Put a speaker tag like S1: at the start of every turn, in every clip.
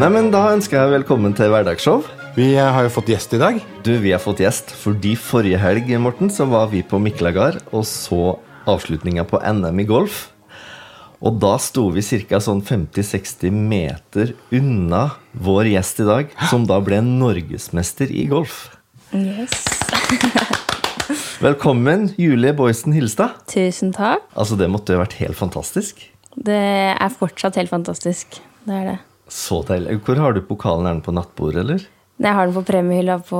S1: Nei, men Da ønsker jeg velkommen til Hverdagsshow.
S2: Vi eh, har jo fått gjest i dag.
S1: Du, Vi har fått gjest, fordi forrige helg Morten, så var vi på Miklagard og så avslutninga på NM i golf. Og da sto vi ca. Sånn 50-60 meter unna vår gjest i dag, som da ble norgesmester i golf.
S3: Yes.
S1: Velkommen, Julie Boysen Hilstad.
S3: Tusen takk.
S1: Altså, Det måtte jo ha vært helt fantastisk.
S3: Det er fortsatt helt fantastisk. Det er det.
S1: Så deilig. Hvor har du pokalen? Er den på nattbordet, eller?
S3: Jeg har den på premiehylla på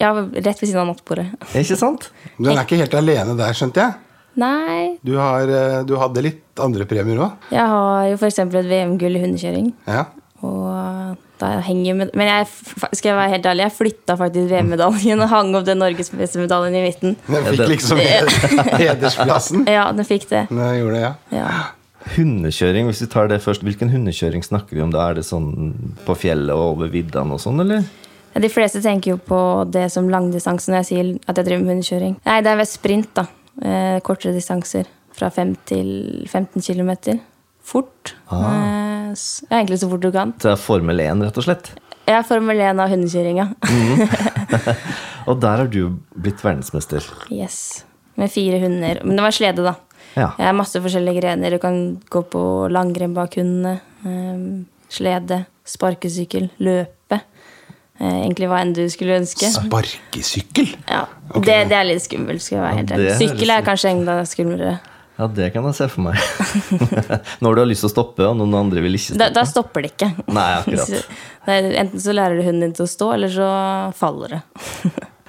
S3: Ja, rett ved siden av nattbordet.
S1: Ikke sant?
S2: Du er ikke helt alene der, skjønte jeg.
S3: Nei,
S2: Du, har, eh, du hadde litt andre premier òg.
S3: jeg har jo f.eks. et VM-gull i hundekjøring.
S2: Ja.
S3: Og da henger med Men jeg, f- skal jeg være helt ærlig, jeg flytta faktisk VM-medaljen og hang opp den norgesmestermedaljen i midten.
S2: Den
S1: Ja,
S2: fikk
S1: den-
S2: liksom hed- hedersplassen.
S3: Ja, den fikk det.
S2: Den gjorde det, ja.
S3: Ja.
S1: Hundekjøring, hvis vi tar det først. Hvilken hundekjøring snakker vi om da? Er det sånn på fjellet og over viddene og sånn, eller?
S3: De fleste tenker jo på det som langdistanse når jeg sier at jeg driver med hundekjøring. Nei, det er ved sprint, da. Eh, kortere distanser. Fra 5 til 15 km. Fort. Eh, s- ja, egentlig så fort du kan.
S1: Det er Formel 1, rett og slett.
S3: Jeg er Formel 1 av hundekjøringa.
S1: Og der har du blitt verdensmester.
S3: Yes. Med fire hunder. Men det var slede, da.
S1: Ja.
S3: Jeg har masse forskjellige grener. Du kan gå på langrenn bak hundene. Eh, slede. Sparkesykkel. Løpe. Eh, egentlig hva enn du skulle ønske.
S2: Ah. Sparkesykkel?
S3: Ja,
S2: Ok.
S3: det, det er litt skummelt. skal jeg være helt ærlig.
S1: det høres
S3: Sykkel
S1: litt-
S3: er kanskje enda skumlere.
S1: Ja, det kan jeg se for meg. Når du har lyst til å stoppe, og noen andre vil ikke
S3: Da, da
S1: stoppe.
S3: stopper det ikke.
S1: Nei, akkurat.
S3: Så- Nei, enten så lærer du hunden din til å stå, eller så faller det.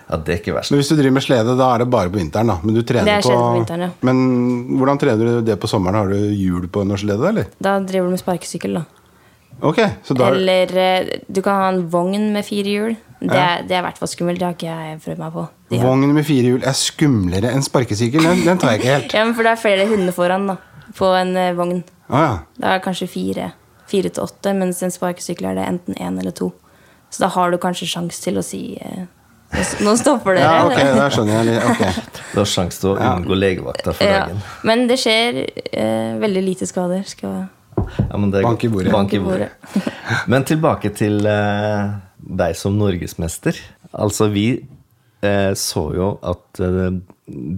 S1: Ja, det er ikke verst.
S2: Men Hvis du driver med slede, da er det bare på vinteren, da. Men, du trener
S3: Det er
S2: på,
S3: slede på vinteren, ja.
S2: Men hvordan trener du det på sommeren? Har du hjul på under slede, eller?
S3: Da driver du med sparkesykkel, da.
S2: Ok, så da
S3: Eller eh, du kan ha en vogn med fire hjul. Det, er- det er i hvert fall skummelt. Det har ikke jeg prøvd meg på. Det-
S2: Vogn med fire hjul er skumlere enn sparkesykkel? Den, den tar jeg ikke helt.
S3: Ja, men For det er flere hunder foran da, på en eh, vogn.
S2: Å ja.
S3: Da er det kanskje fire, fire til åtte, mens en sparkesykkel er det enten én eller to. Så da har du kanskje sjanse til å si eh, Nå s- nå stopper dere.
S2: ja. Ok, da skjønner jeg. litt. Ok.
S1: Du har sjanse til å unngå legevakta for
S3: Ja,
S1: dagen.
S3: men det skjer eh, veldig lite skader. Skal jeg...
S1: Ja, men det er
S2: Bank i
S1: godt.
S2: bordet.
S1: Bank i
S3: Bank i
S1: bordet. men tilbake til eh, deg som norgesmester. Altså, vi eh, så jo at eh,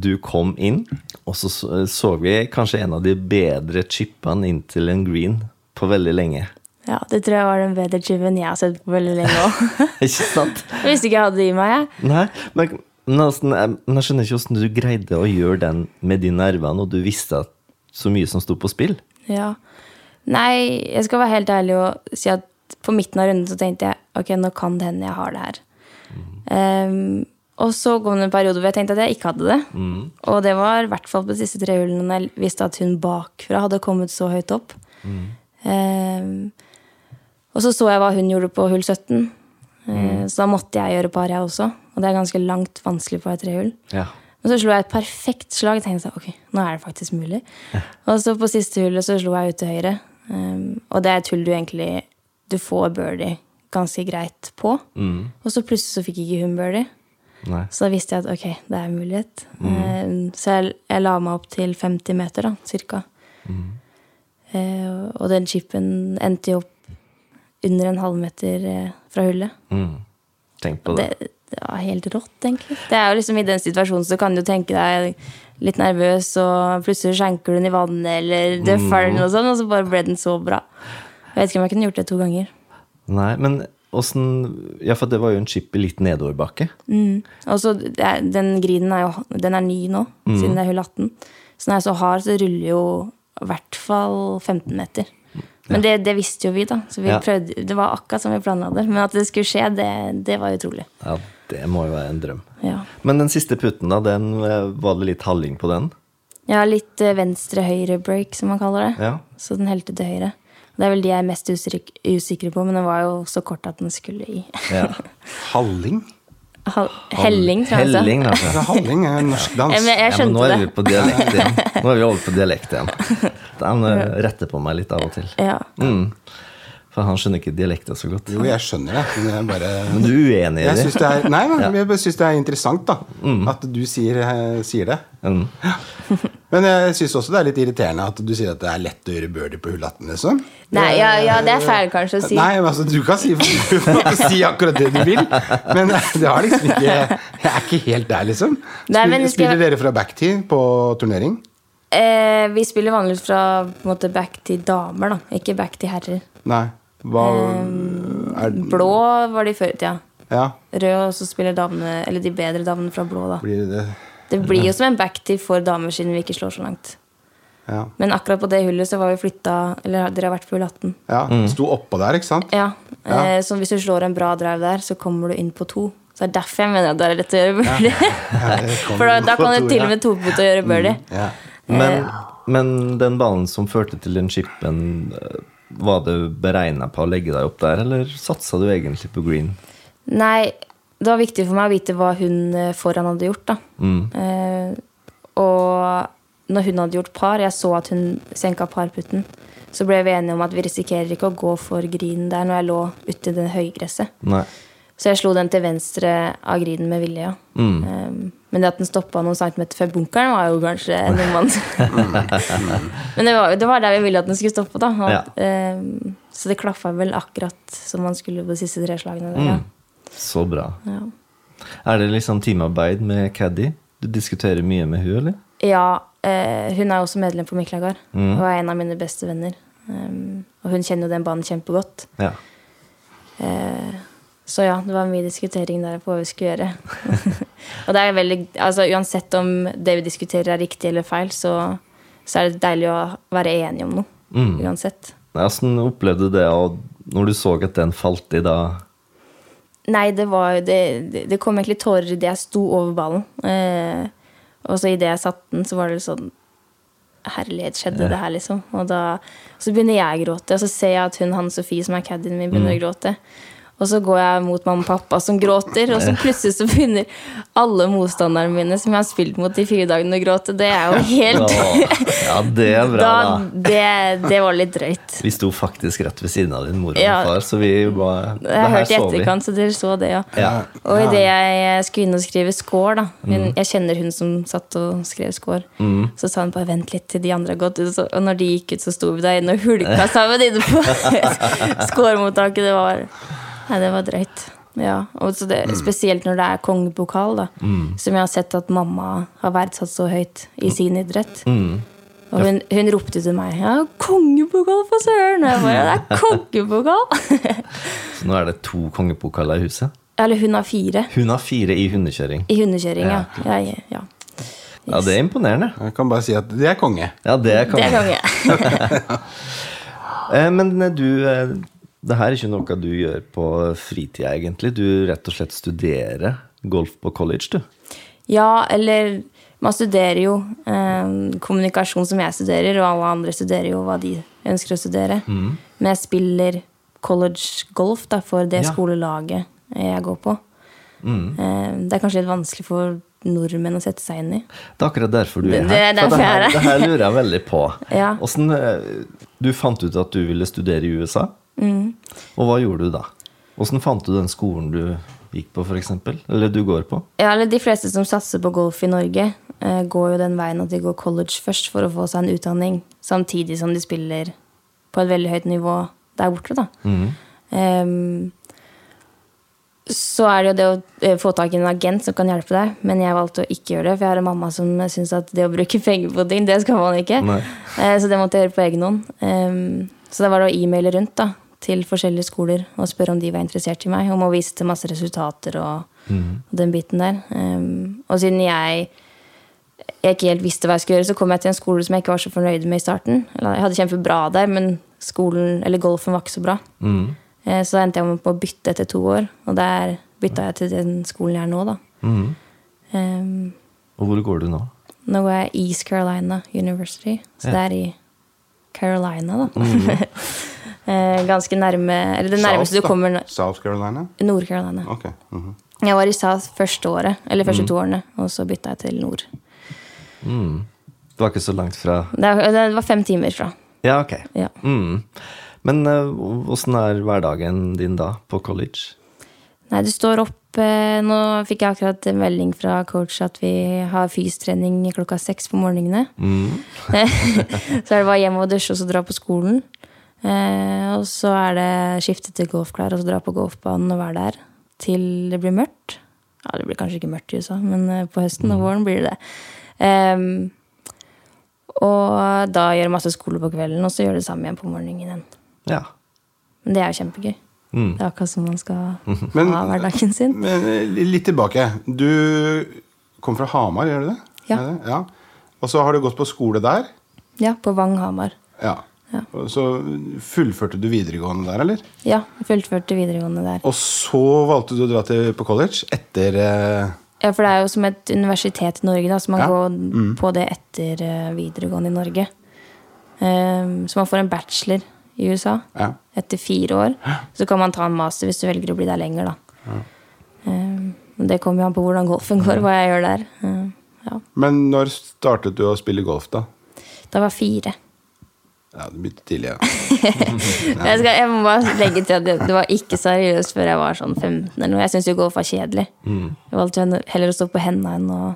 S1: du kom inn, og så så så vi kanskje en av de bedre chipene inn til en green på veldig lenge.
S3: Ja, det tror jeg var den bedre chiven jeg har sett på veldig lenge òg.
S1: Ikke sant?
S3: jeg visste ikke jeg hadde det i meg. jeg.
S1: Nei, men, men, altså, jeg, men jeg skjønner ikke hvordan du greide å gjøre den med de nervene, og du visste at så mye som sto på spill.
S3: Ja. Nei, jeg skal være helt ærlig og si at på midten av runden så tenkte jeg ok, nå kan det hende jeg har det her. Ehm, og så kom det en periode hvor jeg tenkte at jeg ikke hadde det. Og det var i hvert fall på de siste tre hullene når jeg visste at hun bakfra hadde kommet så høyt opp. Ehm, og så så jeg hva hun gjorde på hull 17. Eh, Så da måtte jeg gjøre par, jeg også. Og det er ganske langt vanskelig på et trehull.
S1: Ja.
S3: Men så slo jeg et perfekt slag. tenkte jeg, ok, nå er det faktisk mulig. Og så på siste hullet så slo jeg ut til høyre. Um, og det er et hull du egentlig Du får birdie ganske greit på. Og så plutselig så fikk ikke hun birdie.
S1: Mm, Nei.
S3: Så da visste jeg at ok, det er en mulighet. Um, så jeg, jeg la meg opp til 50 meter, da, cirka. Eh, og den chipen endte jo opp under en halvmeter eh, fra hullet.
S1: Mm. Tenk på
S3: Det,
S1: det.
S3: det var helt rått, egentlig. Det er jo liksom I den situasjonen så kan du tenke deg litt nervøs, og plutselig skjenker du den i vannet, eller
S1: Mm.
S3: døffer den, og sånn, og så bare ble den så bra. Jeg vet ikke om jeg kunne gjort det to ganger.
S1: Nei, men åssen Ja, for det var jo en chip i litt nedoverbakke.
S3: Mm. Og så det er- den grinen er jo den er ny nå,
S1: Mm.
S3: siden det er hull 18. Så når jeg er så hard, så ruller jo i hvert fall 15 meter. Men det, det visste jo vi, da. Så vi
S1: Ja.
S3: prøvde, Det var akkurat som vi planla det. Men at det skulle skje, det, det var utrolig.
S1: Ja, det må jo være en drøm.
S3: Ja.
S1: Men den siste putten, da, den eh, var det litt halling på den?
S3: Jeg har litt venstre-høyre-break, som man kaller det.
S1: Ja.
S3: Så den helte til høyre. Det er vel de jeg er mest usikker, usikker på, men den var jo så kort at den skulle i
S1: Ja.
S2: Halling?
S3: hal- helling. tror jeg han sa.
S1: Helling,
S2: Altså,
S1: altså.
S2: halling er norsk
S3: Ja,
S2: dans.
S3: men jeg
S1: Ja, men nå
S3: skjønte
S1: er vi
S3: det.
S1: på dialekt igjen. Nå er vi over på dialekt igjen. rett, han eh, retter på meg litt av og til.
S3: Ja.
S1: Mm. For han skjønner ikke dialekten så godt.
S2: Jo, jeg skjønner det, men jeg bare
S1: Men du er uenig i
S2: jeg
S1: det?
S2: syns det, er- nei, nei, jeg bare synes det er interessant da at du sier, eh, sier det.
S1: Mm.
S2: Men jeg syns også det er litt irriterende at du sier at det er lett å gjøre birdie på hullatten. Liksom.
S3: Nei, ja, ja, det er feil kanskje å si.
S2: Nei, men altså, du kan si, du kan si akkurat det du vil, men det har liksom ikke Jeg er ikke helt der, liksom.
S3: Nei, men
S2: Spiller,
S3: jeg skal-
S2: spiller dere fra backtee på turnering?
S3: Eh, vi spiller vanligvis fra på en måte, back til damer, da. Ikke back til herrer.
S2: Nei. Hva er
S3: Blå var de før i tida.
S2: Ja,
S3: Rød, og så spiller damene, eller de bedre damene fra blå, da.
S2: blir det
S3: Det blir jo som en back til for damer, siden vi ikke slår så langt.
S2: Ja.
S3: Men akkurat på det hullet så var vi flytta Eller dere har vært på hull 18.
S2: ja Sto oppå der, ikke sant?
S3: Ja. Eh, så hvis du slår en bra drive der, så kommer du inn på to. Så det er derfor jeg mener at det er lett å gjøre birdie.
S2: det kommer
S3: for da, da
S2: på to,
S3: kan du til
S2: ja. Mm.
S3: og med topute og gjøre birdie.
S2: Ja.
S1: Men,
S3: Eh.
S1: men den banen som førte til den chipen, eh, var du beregna på å legge deg opp der, eller satsa du egentlig på green?
S3: Nei, det var viktig for meg å vite hva hun eh, foran hadde gjort. Da.
S2: Mm.
S3: Eh, og når hun hadde gjort par, jeg så at hun senka parputten, så ble vi enige om at vi risikerer ikke å gå for grinen der når jeg lå uti det høygresset.
S1: Nei.
S3: Så jeg slo den til venstre av grinen med vilje. Ja. Eh, men det at den stoppa noen centimeter før bunkeren, var jo kanskje noe man Men det var, det var der vi ville at den skulle stoppe, da. Og,
S1: Ja.
S3: eh, så det klaffa vel akkurat som man skulle på de siste tre slagene. Der, ja.
S1: Mm. Så bra.
S3: Ja.
S1: Er det liksom teamarbeid med caddy? Du diskuterer mye med hun, eller?
S3: Ja, eh, hun er også medlem på Miklagard og er en av mine beste venner. Um, og hun kjenner jo den banen kjempegodt.
S1: Ja.
S3: Eh, Så ja, det var mye diskutering der på hva vi skulle gjøre. og det er veldig, altså uansett om det vi diskuterer er riktig eller feil, så, så er det deilig å være enige om noe. Uansett.
S1: Hvordan opplevde du det og når du så at den falt i da?
S3: Nei, det var det, det, det kom egentlig tårer idet jeg sto over ballen. Eh, og så idet jeg satte den, så var det sånn Herlighet, skjedde det her, liksom? Og da, så begynner jeg å gråte, og så ser jeg at hun Hanne Sofie, som er caddien min,
S1: Mm.
S3: begynner å gråte. Og så går jeg mot mamma og pappa, som gråter, og så plutselig så begynner alle motstanderne mine som jeg har spilt mot i fire dagene, å gråte. Det er jo helt
S1: Å, Ja, det er bra,
S3: da,
S1: da.
S3: det, det var litt drøyt.
S1: Vi sto faktisk rett ved siden av din mor og
S3: Ja.
S1: far, så vi var det
S3: Jeg
S1: her
S3: hørte i
S1: så vi.
S3: etterkant, så dere så det, ja.
S1: Ja.
S3: Og idet jeg skulle inn og skrive score, da hun, Jeg kjenner hun som satt og skrev score. Så sa hun bare 'vent litt til de andre har gått ut'. Og så- Og når de gikk ut, så sto vi der inne og hulka sammen inne på scoremottaket. Det var Nei, det var drøyt. Ja, og så det, Spesielt når det er kongepokal, da. Som jeg har sett at mamma har verdsatt så høyt i sin idrett. Og hun, hun ropte til meg ja, 'Kongepokal, for søren!' Og jeg bare, ja, det er kongepokal!
S1: Så nå er det to kongepokaler i huset.
S3: Eller hun har fire.
S1: Hun har fire i hundekjøring.
S3: I hundekjøring, ja. ja. ja, ja.
S1: Ja, det er imponerende.
S2: Jeg kan bare si at det er konge.
S1: Ja, det kan
S3: Det
S1: vi.
S3: er konge.
S1: Eh, Men eh, du, eh, det her er ikke noe du gjør på fritida, egentlig. Du rett og slett studerer golf på college, du.
S3: Ja, eller man studerer jo eh, kommunikasjon som jeg studerer, og alle andre studerer jo hva de ønsker å studere. Men jeg spiller college golf da, for det
S1: Ja.
S3: skolelaget jeg går på. Eh, det er kanskje litt vanskelig for nordmenn å sette seg inn i.
S1: Det er akkurat derfor du er her.
S3: Det- det er derfor
S1: For det,
S3: jeg er
S1: her
S3: her.
S1: det her lurer jeg veldig på.
S3: Ja.
S1: Hvordan, eh, du fant ut at du ville studere i USA,
S3: Mm.
S1: og hva gjorde du da? Åssen fant du den skolen du gikk på, f.eks.? Eller du går på?
S3: Ja, eller De fleste som satser på golf i Norge, eh, går jo den veien at de går college først for å få seg en utdanning, samtidig som de spiller på et veldig høyt nivå der borte. da. Ehm, så er det jo det å eh, få tak i en agent som kan hjelpe deg, men jeg valgte å ikke gjøre det, for jeg har en mamma som syns at det å bruke penger på ting, det skal man ikke.
S1: Nei.
S3: Eh, så det måtte jeg gjøre på egen hånd. Ehm, så da var det å e-maile rundt da, til forskjellige skoler og spørre om de var interessert i meg, om å vise til masse resultater og, og den biten der. Ehm, og siden jeg jeg ikke helt visste hva jeg skulle gjøre, så kom jeg til en skole som jeg ikke var så fornøyd med i starten. Eller, Jeg hadde kjempebra der, men skolen, eller golfen var ikke så bra. Eh, Så da endte jeg med å bytte etter to år, og der bytta jeg til den skolen jeg er nå. Da. Ehm,
S1: Og hvor går du nå?
S3: nå går jeg East Carolina University, så
S1: Ja.
S3: det er i Carolina, da. Eh, Ganske nærme Eller det nærmeste
S2: South,
S3: du
S2: da.
S3: kommer nå-
S2: South Carolina?
S3: Nord-Carolina.
S2: Ok. mhm.
S3: Jeg var i USA første året, eller første to årene, og så bytta jeg til nord.
S1: Det var ikke så langt fra
S3: Det, er- det var fem timer fra.
S1: Ja, ok.
S3: Ja.
S1: Mm. Men åssen er hverdagen din da, på college?
S3: Nei, du står opp eh, Nå fikk jeg akkurat en melding fra coach at vi har fystrening klokka seks på morgenene.
S1: Mm.
S3: så er det bare hjem og dusje og så dra på skolen. Eh, og så er det skifte til golfklær og så dra på golfbanen og være der til det blir mørkt. Ja, det blir kanskje ikke mørkt i USA, men eh, på høsten og våren blir det det. Ehm, og da gjøre masse skole på kvelden, og så gjøre det samme igjen på morgenen igjen.
S1: Ja.
S3: Men det er jo kjempegøy.
S1: Mm.
S3: Det er akkurat som man skal
S2: Men-
S3: ha hverdagen sin.
S2: Men eh, litt tilbake. Du kom fra Hamar, gjør du det?
S3: Ja.
S2: Er det? ja. Og så har du gått på skole der.
S3: Ja, på Vang Hamar.
S2: Ja. Og Så fullførte du videregående der, eller?
S3: Ja, jeg fullførte videregående der.
S2: Og så valgte du å dra til, på college etter eh,
S3: Ja, For det er jo som et universitet i Norge, da, så man
S2: Ja.
S3: går på det etter eh, videregående i Norge. Ehm, så man får en bachelor i USA
S2: Ja.
S3: etter fire år. Så kan man ta en master hvis du velger å bli der lenger, da. Ehm, men det kommer jo an på hvordan golfen går, hva jeg gjør der. Ehm, ja.
S2: Men når startet du å spille golf, da?
S3: Da var jeg fire.
S2: Ja, Du begynte tidlig, ja.
S3: Jeg, skal, jeg må bare legge til at det, det var ikke seriøst før jeg var sånn 15 eller noe. Jeg syns jo golf var kjedelig.
S2: Mm.
S3: Jeg valgte jo heller å stå på henda enn å,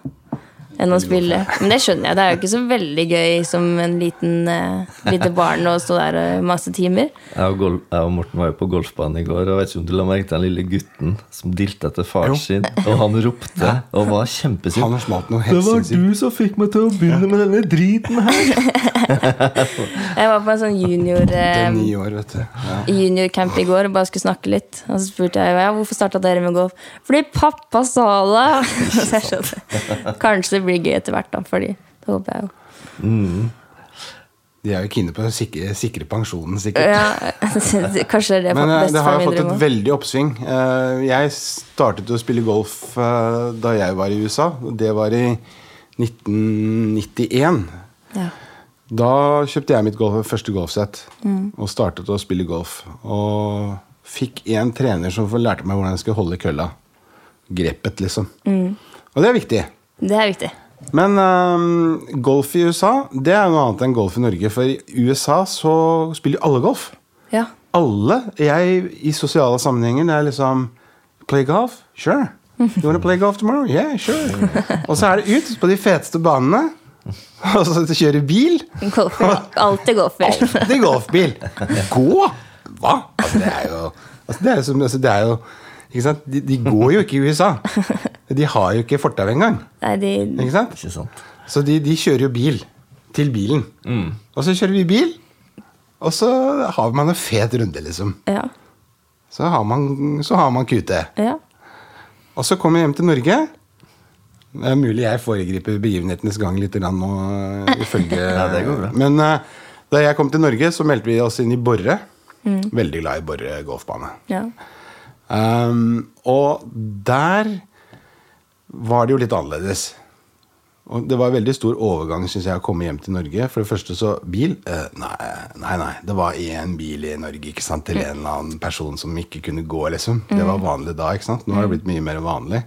S3: enn å spille. Men det skjønner jeg. Det er jo ikke så veldig gøy som en liten eh, lite barn å stå der eh, masse timer.
S1: Jeg og, gol jeg og Morten var jo på golfbanen i går, og jeg vet ikke om du la merke til den lille gutten som dilta etter faren sin, og han ropte og var
S2: Han
S1: kjempesint.
S2: har smalt noe helt sinnssykt.
S1: som fikk meg til å begynne med denne driten her!
S3: Jeg var på en sånn junior
S2: Det er
S3: eh,
S2: ni år, vet du. Ja.
S3: juniorcamp i går og bare skulle snakke litt. Og så spurte jeg ja, hvorfor starta dere med golf. Fordi pappa sa det! Så jeg skjønner. Kanskje det blir gøy etter hvert, da. Fordi det håper jeg jo.
S2: De er jo kine på å sikre, sikre pensjonen, sikkert.
S3: Ja, kanskje det er
S2: Men eh, det har
S3: bestefaren
S2: jo
S3: min
S2: fått
S3: drømmer
S2: et
S3: om.
S2: veldig oppsving. Eh, Jeg startet å spille golf eh, da jeg var i USA. og Det var i 1991.
S3: Ja.
S2: Da kjøpte jeg mitt golf, første golfsett og startet å spille golf. Og fikk en trener som lærte meg hvordan jeg skulle holde kølla. Grepet, liksom. Og det er viktig.
S3: Det er viktig.
S2: Men ehm, golf i USA det er noe annet enn golf i Norge. For i USA så spiller jo alle golf.
S3: Ja.
S2: Alle jeg i sosiale sammenhenger det er liksom Play golf? Sure. You wanna play golf tomorrow? Yeah, sure. Og så er det ut på de feteste banene. Og så kjøre bil.
S3: Golfer. Alltid golfer.
S2: Alltid golfbil. Gå? Hva? Altså, det er jo, altså, det er jo, som, altså, det er jo ikke sant? De, de går jo ikke i USA. De har jo ikke fortau engang.
S3: Nei, de
S2: Ikke sant?
S1: Ikke sant?
S2: Så de, de kjører jo bil til bilen. Og så kjører vi bil, og så har man en fet runde, liksom.
S3: Ja.
S2: Så har man, så har man QT.
S3: ja.
S2: Og så kommer jeg hjem til Norge. Det er mulig jeg foregriper begivenhetenes gang litt grann nå. eh, Ifølge,
S1: det går bra.
S2: Men eh, da jeg kom til Norge, så meldte vi oss inn i Borre. Veldig glad i Borre golfbane.
S3: ja.
S2: Um, og der var det jo litt annerledes. Og det var veldig stor overgang synes jeg, å komme hjem til Norge. For det første så bil. Eh, nei, nei, nei. Det var én bil i Norge ikke sant? til en eller annen person som ikke kunne gå. liksom. Det var vanlig da. ikke sant? Nå har det blitt mye mer vanlig.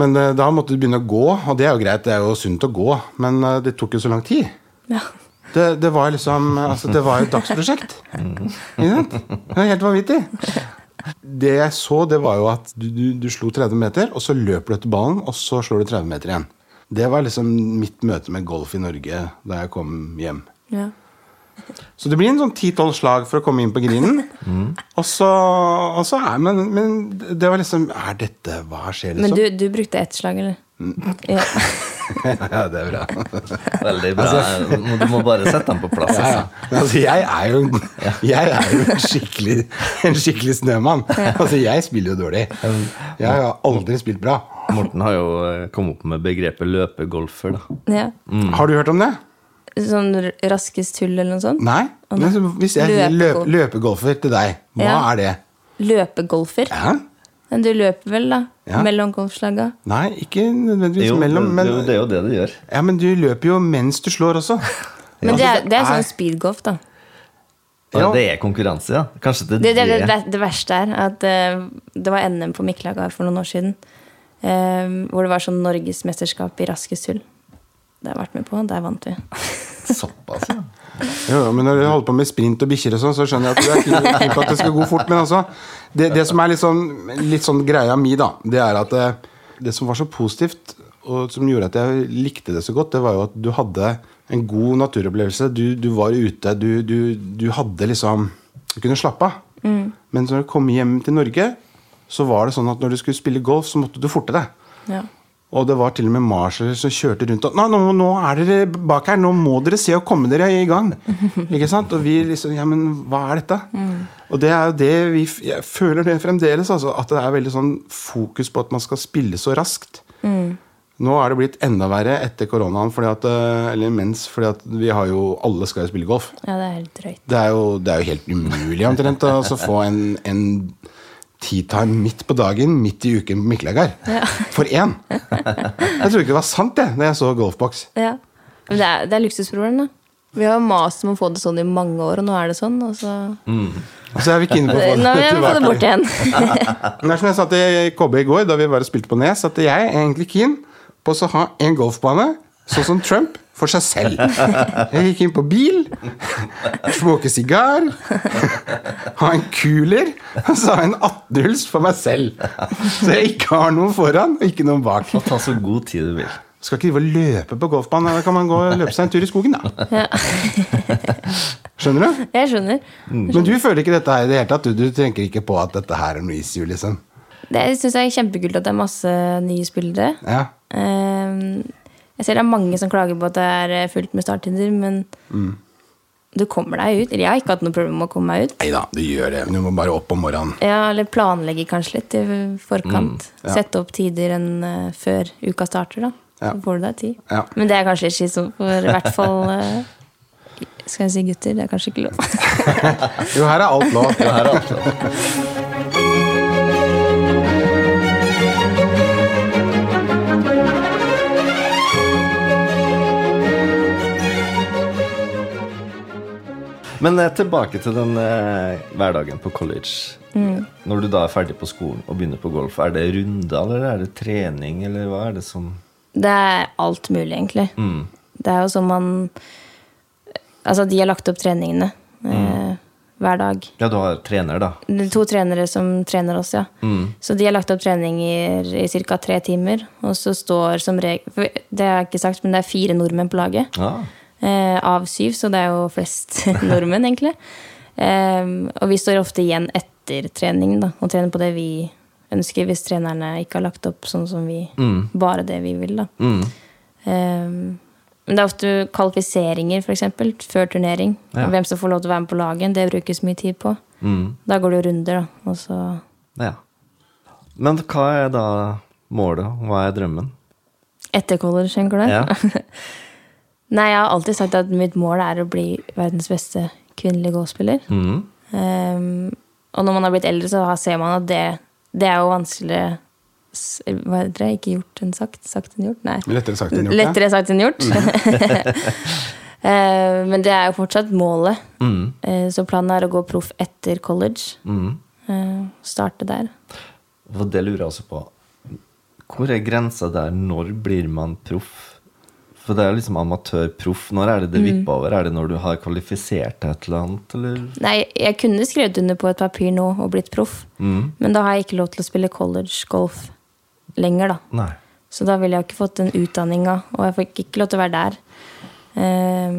S2: Men eh, da måtte du begynne å gå, og det er jo greit. Det er jo sunt å gå, men eh, det tok jo så lang tid.
S3: ja.
S2: Det, det var liksom altså, Det var jo et dagsprosjekt. Ikke sant? Det var helt vanvittig. Det jeg så, det var jo at du, du, du slo 30 meter, og så løper du etter ballen, og så slår du 30 meter igjen. Det var liksom mitt møte med golf i Norge da jeg kom hjem.
S3: ja.
S2: Så det blir en sånn 10-12 slag for å komme inn på grinen. Og så, og så er, men, men det var liksom Er dette Hva skjer,
S3: Men
S2: liksom?
S3: du, du brukte ett slag, eller? Ja.
S2: ja, det er bra.
S1: Veldig
S2: Altså,
S1: bra. Må- Du må bare sette den på plass.
S2: Ja, ja.
S1: Altså.
S2: Men Altså, jeg er jo en, jeg er jo en, skikkelig, en skikkelig snømann. Altså, jeg spiller jo dårlig. Jeg har aldri spilt bra.
S1: Morten har jo eh, kommet opp med begrepet løpegolfer. da.
S3: ja.
S2: Har du hørt om det?
S3: Sånn r- raskest hull eller noe sånt?
S2: Nei?
S3: Å, nei.
S2: Men så hvis jeg sier løp,
S3: Løpegolf.
S2: løpegolfer til deg, hva
S3: Ja.
S2: er det?
S3: Løpegolfer?
S2: Ja?
S3: Men du løper vel, da?
S2: Ja.
S3: Mellom golfslaga?
S2: Nei, ikke nødvendigvis
S1: Jo,
S2: mellom,
S1: det-
S2: men,
S1: det, er jo- det er jo det du gjør.
S2: ja, men du løper jo mens du slår også.
S3: Men det er,
S2: Altså,
S3: det er sånn speedgolf, da.
S1: Ja,
S2: Ja.
S1: det er konkurranse, ja. Kanskje det,
S3: Det, det,
S1: det,
S3: det, ver- det verste er at eh, det var NM på Miklagard for noen år siden. eh, hvor det var sånn norgesmesterskap i raskest hull. det har jeg vært med på. Der vant vi.
S1: Såpass, ja.
S2: Jo, jo, men når du holder på med sprint og bikkjer og sånn, så skjønner jeg at du er keen keen på at det skal gå fort. Men altså, det, det som er litt sånn, litt sånn greia mi, da, det er at det, det som var så positivt, og som gjorde at jeg likte det så godt, det var jo at du hadde en god naturopplevelse. Du, du var ute, du, du, du hadde liksom Du kunne slappe av. Men når du kom hjem til Norge, så var det sånn at når du skulle spille golf, så måtte du forte deg.
S3: Ja.
S2: Og det var til og med marsjer som kjørte rundt og Nå, nå, nå er dere bak her! Nå må dere se og komme dere i gang! Ikke sant? Og vi liksom Ja, men hva er dette? Og det er jo det vi f- Jeg føler det fremdeles, altså. At det er veldig sånn fokus på at man skal spille så raskt. Nå er det blitt enda verre etter koronaen, fordi at, eh, eller mens, fordi at vi har jo Alle skal jo spille golf.
S3: ja, det er helt drøyt.
S2: Det er jo, det er jo helt umulig omtrent å altså, få en, en tea-time midt på dagen, midt i uken på Miklagard. For én! Jeg trodde ikke det var sant, jeg, da jeg så Golfbox.
S3: Ja. Men det er, det er luksusproblem, da. Vi har mast om å få det sånn i mange år, og nå er det sånn. Og så...
S2: Og så er vi ikke inne på
S3: Nå må vi få det bort igjen.
S2: Det er som jeg sa til KB i går, da vi bare spilte på Nes, at jeg er egentlig keen på å ha en golfbane, sånn som Trump, for seg selv. Jeg gikk inn på bil, smoke sigar, ha en cooler, og så ha en 18-hulls for meg selv. Så jeg ikke har noen foran, og ikke noen bak.
S1: Og ta så god tid du vil.
S2: Skal ikke drive og løpe på golfbanen, da kan man gå og løpe seg en tur i skogen, da.
S3: Ja.
S2: Skjønner du?
S3: Jeg skjønner.
S2: Men du føler ikke dette her i det hele tatt? Du, du tenker ikke på at dette her er noe issue, liksom?
S3: Det syns jeg er kjempekult at det er masse nye spillere.
S2: Ja.
S3: Ehm, jeg ser det er mange som klager på at det er eh, fullt med starttider, men du kommer deg ut. Eller jeg har ikke hatt noe problem med å komme meg ut.
S2: Nei da, du gjør det. men Du må bare opp om morgenen.
S3: Ja, eller planlegger kanskje litt i forkant.
S2: Mm, ja.
S3: Sette opp tider enn eh, før uka starter, da.
S2: Ja.
S3: Så får du deg tid.
S2: Ja.
S3: Men det er kanskje litt slitsomt for i hvert fall eh, Skal jeg si gutter? Det er kanskje ikke lov.
S2: Jo, her er alt lov.
S1: Men eh, tilbake til den eh, hverdagen på college. Når du da er ferdig på skolen og begynner på golf, er det runde eller er det trening? Eller hva er det som
S3: Det er alt mulig, egentlig.
S2: Mm.
S3: Det er jo sånn man Altså, de har lagt opp treningene
S2: Mm.
S3: eh, hver dag.
S1: Ja, du har trener, da.
S3: Det er to trenere som trener oss, ja.
S2: Mm.
S3: Så de har lagt opp treninger i ca. tre timer. Og så står som regel for Det har jeg ikke sagt, men det er fire nordmenn på laget.
S1: Ja.
S3: Eh, av syv, så det er jo flest nordmenn, egentlig. Eh, og vi står ofte igjen etter treningen, da, og trener på det vi ønsker, hvis trenerne ikke har lagt opp sånn som vi
S1: Mm.
S3: Bare det vi vil, da. Eh, men det er ofte kvalifiseringer, f.eks., før turnering.
S1: Ja. Mm.
S3: Hvem som får lov til å være med på laget, det brukes mye tid på. Da går det jo runder, da. Og så
S1: ja. Men hva er da målet? Hva er drømmen?
S3: etter college, tenker du?
S1: Ja.
S3: Nei, jeg har alltid sagt at mitt mål er å bli verdens beste kvinnelige golfspiller.
S1: Mm.
S3: Ehm, og når man har blitt eldre, så har- ser man at det, det er jo vanskeligere s- Hva heter det? Ikke gjort enn sagt? Sagt enn gjort? Nei.
S2: Lettere sagt enn gjort. ja.
S3: Lettere sagt enn gjort. Ehm, men det er jo fortsatt målet. Eh, så planen er å gå proff etter college. Eh, starte der.
S1: For det lurer jeg også på. Hvor er grensa der? Når blir man proff? For det er jo liksom amatør-proff. Når er det det vipper over? Er det når du har kvalifisert deg til et eller annet, eller?
S3: Nei, jeg kunne skrevet under på et papir nå og blitt proff, men da har jeg ikke lov til å spille college-golf lenger, da.
S1: Nei.
S3: Så da ville jeg jo ikke fått den utdanninga, og jeg fikk ikke lov til å være der. Ehm,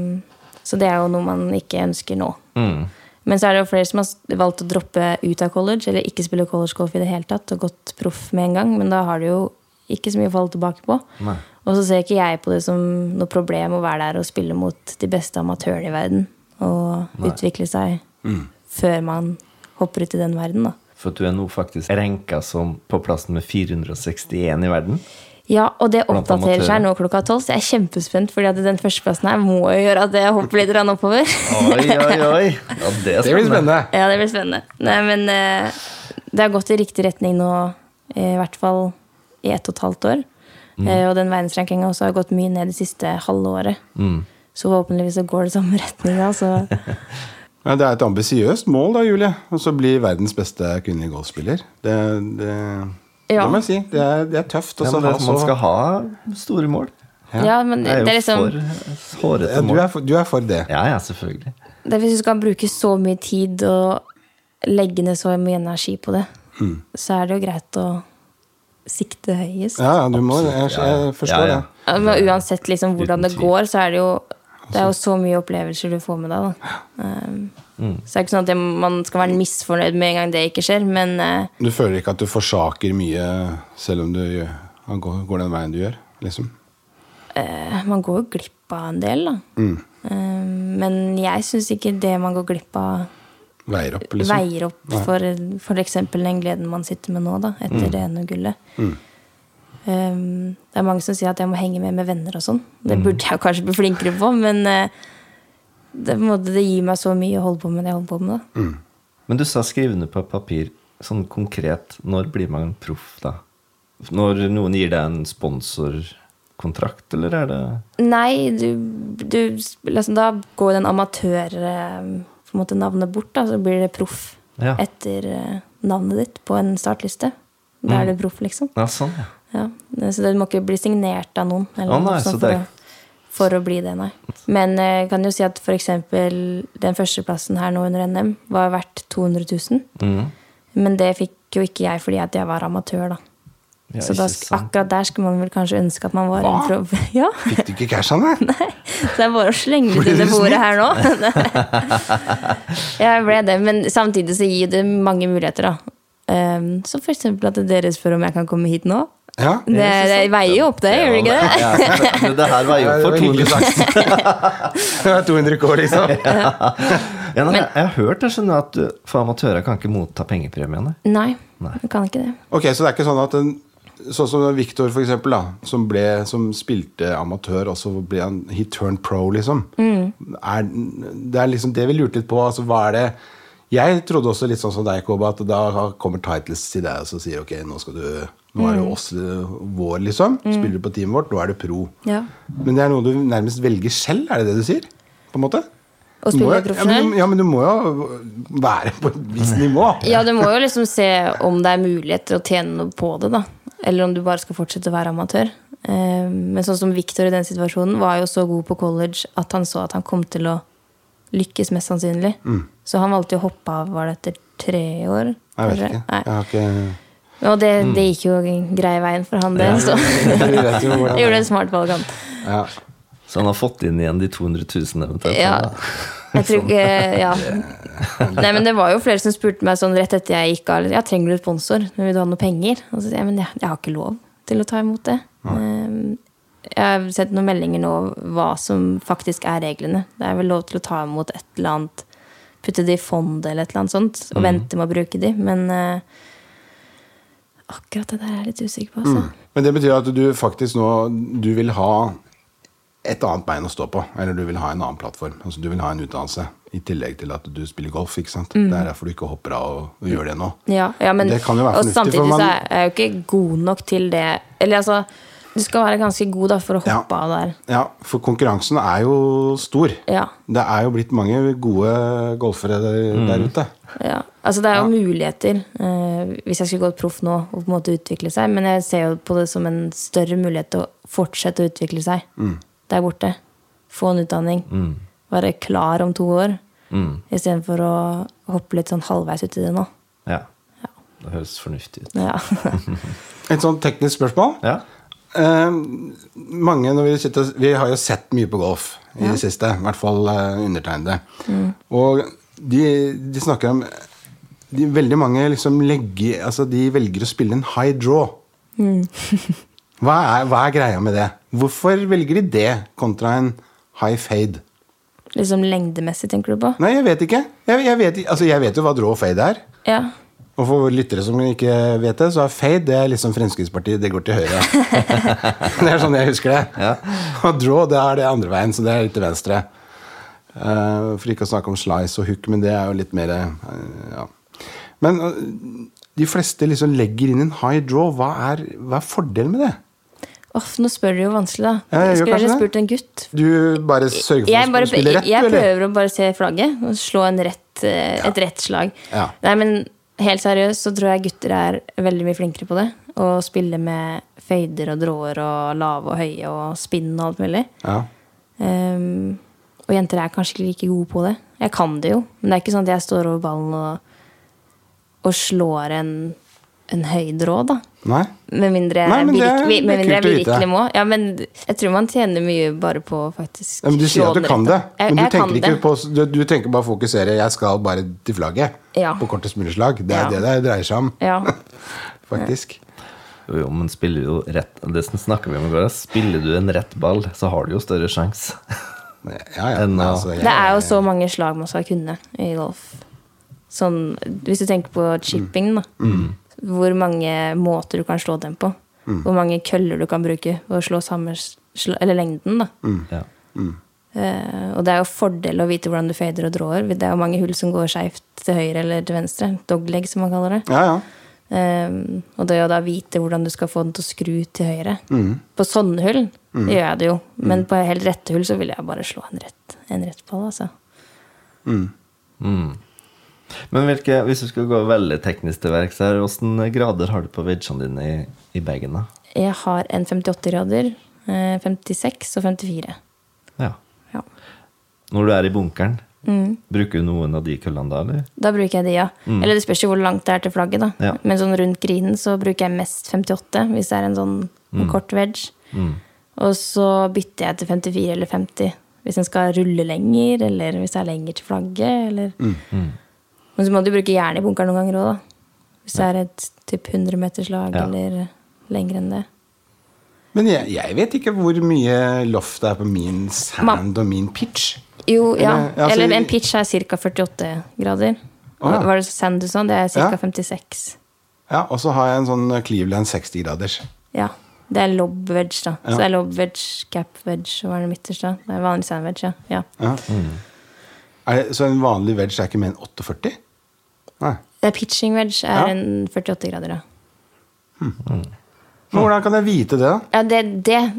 S3: så det er jo noe man ikke ønsker nå. Men så er det jo flere som har s- valgt å droppe ut av college, eller ikke spille college golf i det hele tatt, og gått proff med en gang, men da har du jo ikke så mye å falle tilbake på.
S1: Nei.
S3: Og så ser ikke jeg på det som noe problem å være der og spille mot de beste amatørene i verden, og utvikle seg før man hopper ut i den verden, da.
S1: For at du er nå faktisk renka som på plass nummer 461 i verden.
S3: Ja, og det
S1: Blant
S3: oppdaterer seg
S1: amatører.
S3: nå klokka tolv, så jeg er kjempespent, fordi at den førsteplassen her må jo gjøre at jeg hopper litt grann oppover.
S1: Oi, oi, oi! Ja, det, er
S2: Det blir spennende.
S3: ja, det blir spennende. Nei, men eh, det har gått i riktig retning nå, eh, i hvert fall i ett og et halvt år.
S1: Mm.
S3: Eh, og den verdensrankinga også har gått mye ned det siste halve året.
S1: Mm.
S3: Så forhåpentligvis så går det samme altså. retninga, så
S2: Ja, det er et ambisiøst mål, da, Julie. Og så bli verdens beste kvinnelige golfspiller. Det, det,
S3: Ja.
S2: det må jeg si. Det er, det er tøft.
S1: Ja,
S2: altså. Og så
S1: men det,
S2: ha
S1: man skal
S2: så
S1: ha store mål.
S3: Ja, men det,
S1: Jeg er
S3: er
S1: jo
S3: liksom
S1: for hårete
S2: Ja, du,
S1: mål.
S2: er for, du er for det.
S1: Ja, ja, selvfølgelig.
S3: det er Hvis du skal bruke så mye tid og legge ned så mye energi på det,
S1: Mm.
S3: så er det jo greit å sikte høyest.
S2: Ja, ja, du må, jeg, jeg forstår
S1: Ja, ja.
S2: det.
S3: Ja, Men uansett liksom, hvordan
S1: Altså, Uten
S3: det
S1: tvil. Altså.
S3: går, så er det jo det er jo så mye opplevelser du får med deg. Da. Um,
S1: Mm.
S3: Så det er ikke sånn at det, man skal være misfornøyd med en gang det ikke skjer, men eh,
S2: Du føler ikke at du forsaker mye selv om du gjør- han går, går den veien du gjør? liksom.
S3: man går jo glipp av en del, da.
S1: Mm.
S3: Um, men jeg syns ikke det man går glipp av,
S2: Veier opp, liksom.
S3: veier opp for f.eks. den gleden man sitter med nå, da, etter det ene gullet. Um, det er mange som sier at jeg må henge med med venner og sånn. Det burde jeg kanskje bli flinkere på, men eh, det, er på en måte, det gir meg så mye å holde på med det jeg holder på med. da.
S1: Men du sa skrive ned på papir. Sånn konkret, når blir man proff, da? Når noen gir deg en sponsorkontrakt, eller er det
S3: Nei, du, du liksom, Da går jo den amatør eh, på en måte navnet bort, da, så blir det proff
S1: Ja.
S3: etter eh, navnet ditt på en startliste. Da er du proff, liksom.
S1: Ja, sånn, ja.
S3: Ja. Så du må ikke bli signert av noen. Eller
S1: Å, nei,
S3: noe sånt
S1: så det er-
S3: for, å, for å bli det, nei. Men eh, jeg kan jo si at f.eks. den førsteplassen her nå under NM var verdt 200 000.
S1: Mhm.
S3: Men det fikk jo ikke jeg fordi at jeg var amatør, da.
S1: Ja,
S3: så da,
S1: ikke
S3: sk-
S1: sant.
S3: akkurat der skulle man vel kanskje ønske at man var en
S2: Hva?
S3: proff. Ja.
S2: Fikk du ikke casha, nei?
S3: Så det er bare å slenge
S2: Ble
S3: det under
S2: du
S3: bordet her nå. jeg ble det, men samtidig så gir det mange muligheter, da. Um, så for eksempel at dere spør om jeg kan komme hit nå.
S2: Ja.
S3: Det, det veier jo opp det, gjør det ikke det?
S1: Ja, men det her var jo for tidlig sagt.
S2: sagt. Det var 200 K, liksom.
S1: Ja, nei, jeg, jeg har hørt det, skjønner du, at du, for amatører kan ikke motta pengepremiene.
S3: Nei,
S1: Nei.
S3: jeg kan ikke det.
S2: Ok, så det er ikke sånn at en, Sånn som Victor, for eksempel, da, som, ble, som spilte amatør, og så ble han He turned pro, liksom. Er, det er liksom det vi lurte litt på. Altså, hva er det Jeg trodde også litt sånn som deg, Koba, at da kommer Titles til deg og så sier ok, nå skal du Nå
S3: Mm.
S2: er det oss eh, vår, liksom. Spiller du på teamet vårt, nå er du pro.
S3: Ja.
S2: Men det er noe du nærmest velger selv, er det det du sier? På en måte?
S3: Å
S2: Du må jo- Ja,
S3: spille profesjonell?
S2: men, ja, men du må jo være på et visst nivå.
S3: Ja, du må jo liksom se om det er muligheter å tjene noe på det, da. Eller om du bare skal fortsette å være amatør. Um, men sånn som Victor i den situasjonen var jo så god på college at han så at han kom til å lykkes mest sannsynlig. Så han valgte jo å hoppe av, var det etter tre år?
S2: Jeg vet
S3: kanskje?
S2: ikke.
S3: Nei.
S2: Jeg har ikke
S3: Og det, det gikk jo grei veien for han, det. Så
S2: Vi vet jo hvordan det
S3: gjorde
S2: er.
S3: et smart valg, han.
S2: Ja.
S1: Så han har fått inn igjen de 200 000 eventuelt.
S3: Ja.
S1: da.
S3: Jeg tror ikke Ja. Nei, men det var jo flere som spurte meg sånn rett etter jeg gikk av. Ja, trenger du sponsor? Men Vil du ha noe penger? Og så sier jeg men jeg, jeg har ikke lov til å ta imot det. Um, Jeg har sett noen meldinger nå hva som faktisk er reglene. Det er vel lov til å ta imot et eller annet, putte det i fond eller et eller annet sånt, og vente med å bruke de, men eh, akkurat det der er jeg litt usikker på, altså.
S2: Men det betyr at du faktisk nå Du vil ha et annet bein å stå på. Eller du vil ha en annen plattform. Altså Du vil ha en utdannelse. I tillegg til at du spiller golf. ikke sant? Det er derfor du ikke hopper av og, og gjør det nå.
S3: Mm. Ja, ja men
S2: Det kan jo være
S3: og
S2: fornuftig,
S3: samtidig
S2: for man-
S3: så er jeg jo ikke god nok til det. Eller altså, du skal være ganske god da for å
S2: Ja.
S3: hoppe av der.
S2: Ja, For konkurransen er jo stor.
S3: Ja.
S2: Det er jo blitt mange gode golfere der, der ute.
S3: Ja. Altså, det er jo muligheter eh, hvis jeg skulle gått proff nå og på en måte utvikle seg, men jeg ser jo på det som en større mulighet til å fortsette å utvikle seg
S2: Mm.
S3: der borte. Få en utdanning. Være klar om to år. Mm. Istedenfor å hoppe litt sånn halvveis uti det nå.
S1: Ja. Det høres fornuftig ut.
S3: Ja.
S2: Et sånt teknisk spørsmål.
S1: Ja.
S2: Eh, mange når vi, sitter, vi har jo sett mye på golf i det siste, i hvert fall eh, undertegnede. Og de, de snakker om de, Veldig mange liksom legger, altså de velger å spille en high draw. hva, er, hva er greia med det? Hvorfor velger de det kontra en high fade?
S3: liksom lengdemessig, tenker du på?
S2: Nei, jeg vet ikke. Jeg, jeg, vet, altså, jeg vet jo hva draw og fade er.
S3: Ja.
S2: Og for våre lyttere som ikke vet det, så er fade det er liksom Fremskrittspartiet, det går til høyre. det er sånn jeg husker det. Og draw, det er det andre veien, så det er litt til venstre. Eh, for ikke å snakke om slice og hook, men det er jo litt mer eh, ja. Men eh, de fleste liksom legger inn en high draw. Hva er, hva er fordelen med det?
S3: Åh, nå spør du jo vanskelig, da.
S2: Ja, jeg gjør
S3: jeg skulle
S2: kanskje
S3: egentlig
S2: det.
S3: spurt en gutt.
S2: Du bare sørger for
S3: Jeg,
S2: å
S3: bare,
S2: spille
S3: jeg,
S2: rett,
S3: jeg
S2: du, eller?
S3: prøver å bare se flagget og slå en rett, eh, et rett slag.
S2: Ja.
S3: Nei, men helt seriøst så tror jeg gutter er veldig mye flinkere på det. Og spille med føyder og dråer og lave og høye og spinn og alt mulig.
S2: Ja.
S3: Ehm, og jenter er kanskje ikke like gode på det. Jeg kan det jo, men det er ikke sånn at jeg står over ballen og, og slår en, en høy drå, da.
S2: Nei?
S3: Med mindre,
S2: Nei, men det er-
S3: virke-
S2: det er
S3: med mindre jeg
S2: kult å vite.
S3: virkelig må. Ja, men jeg tror man tjener mye bare på å faktisk
S2: Ja, men du sier at du
S3: den
S2: kan
S3: rett,
S2: det,
S3: da. Jeg,
S2: men du
S3: jeg kan
S2: tenker, ikke
S3: det.
S2: på, du, du tenker bare å fokusere 'jeg skal bare til flagget'
S3: Ja.
S2: på kortest mulig slag. Det er
S3: Ja.
S2: det det dreier seg om,
S3: Ja.
S2: faktisk.
S1: Jo, jo, men spiller jo rett Det snakker vi om i går. da. Spiller du en rett ball, så har du jo større sjanse.
S2: Ja, ja. altså,
S1: Enn å-
S2: jeg-
S3: Det er jo så mange slag man skal kunne i golf. Sånn, hvis du tenker på
S2: Mm.
S3: chipping, da. Hvor mange måter du kan slå den på.
S2: Mm.
S3: Hvor mange køller du kan bruke for å slå samme sl eller lengden. da.
S2: Mm.
S1: Ja.
S3: Eh, og det er jo fordel å vite hvordan du fader og drår. Det er jo mange hull som går skeivt til høyre eller til venstre. Dogleg, som man kaller det.
S2: Ja, ja.
S3: Ehm, og det å da vite hvordan du skal få den til å skru til høyre. På sånne hull det gjør jeg det jo, men på helt rette hull så vil jeg bare slå en rett, en rett ball. Altså.
S1: Men hvilke, hvis du skal gå veldig teknisk til verks her, åssen grader har du på wedgene dine i, i bagen? da?
S3: Jeg har en 58-grader, eh, 56 og 54.
S1: Ja.
S3: Ja.
S1: Når du er i bunkeren,
S3: Mm.
S1: bruker du noen av de køllene da, eller?
S3: Da bruker jeg de, ja. Eller det spørs jo hvor langt det er til flagget, da.
S1: Mm. Ja.
S3: Men sånn rundt grinen så bruker jeg mest 58, hvis det er en sånn
S1: Mm.
S3: kort wedge. Og så bytter jeg til 54 eller 50 hvis en skal rulle lenger, eller hvis det er lenger til flagget, eller
S2: Mm.
S1: Mm.
S3: Men så må du bruke jern i bunkeren noen ganger òg, da. Hvis det er et typ 100 meters lag
S1: Ja.
S3: eller lenger enn det.
S2: Men jeg, jeg vet ikke hvor mye loft det er på min sand og min pitch.
S3: Jo, ja.
S2: Eller- ja, altså-
S3: Eller en pitch er ca. 48 grader.
S2: Å, ja.
S3: Var det sand du sa? Det er ca.
S2: Ja.
S3: 56.
S2: Ja, Og så har jeg en sånn Cleveland 60-graders.
S3: Ja. Det er lob wedge, da.
S2: Ja.
S3: Så det er lob wedge, cap wedge, og hva er det midterste? da? Det er vanlig sandwich, ja. ja.
S2: Ja. Er det, så en vanlig wedge er ikke mer enn 48? Nei.
S3: Det er pitching wedge er
S2: Ja.
S3: en 48 grader, da.
S2: Men hvordan kan jeg vite det, da?
S3: Ja, det, det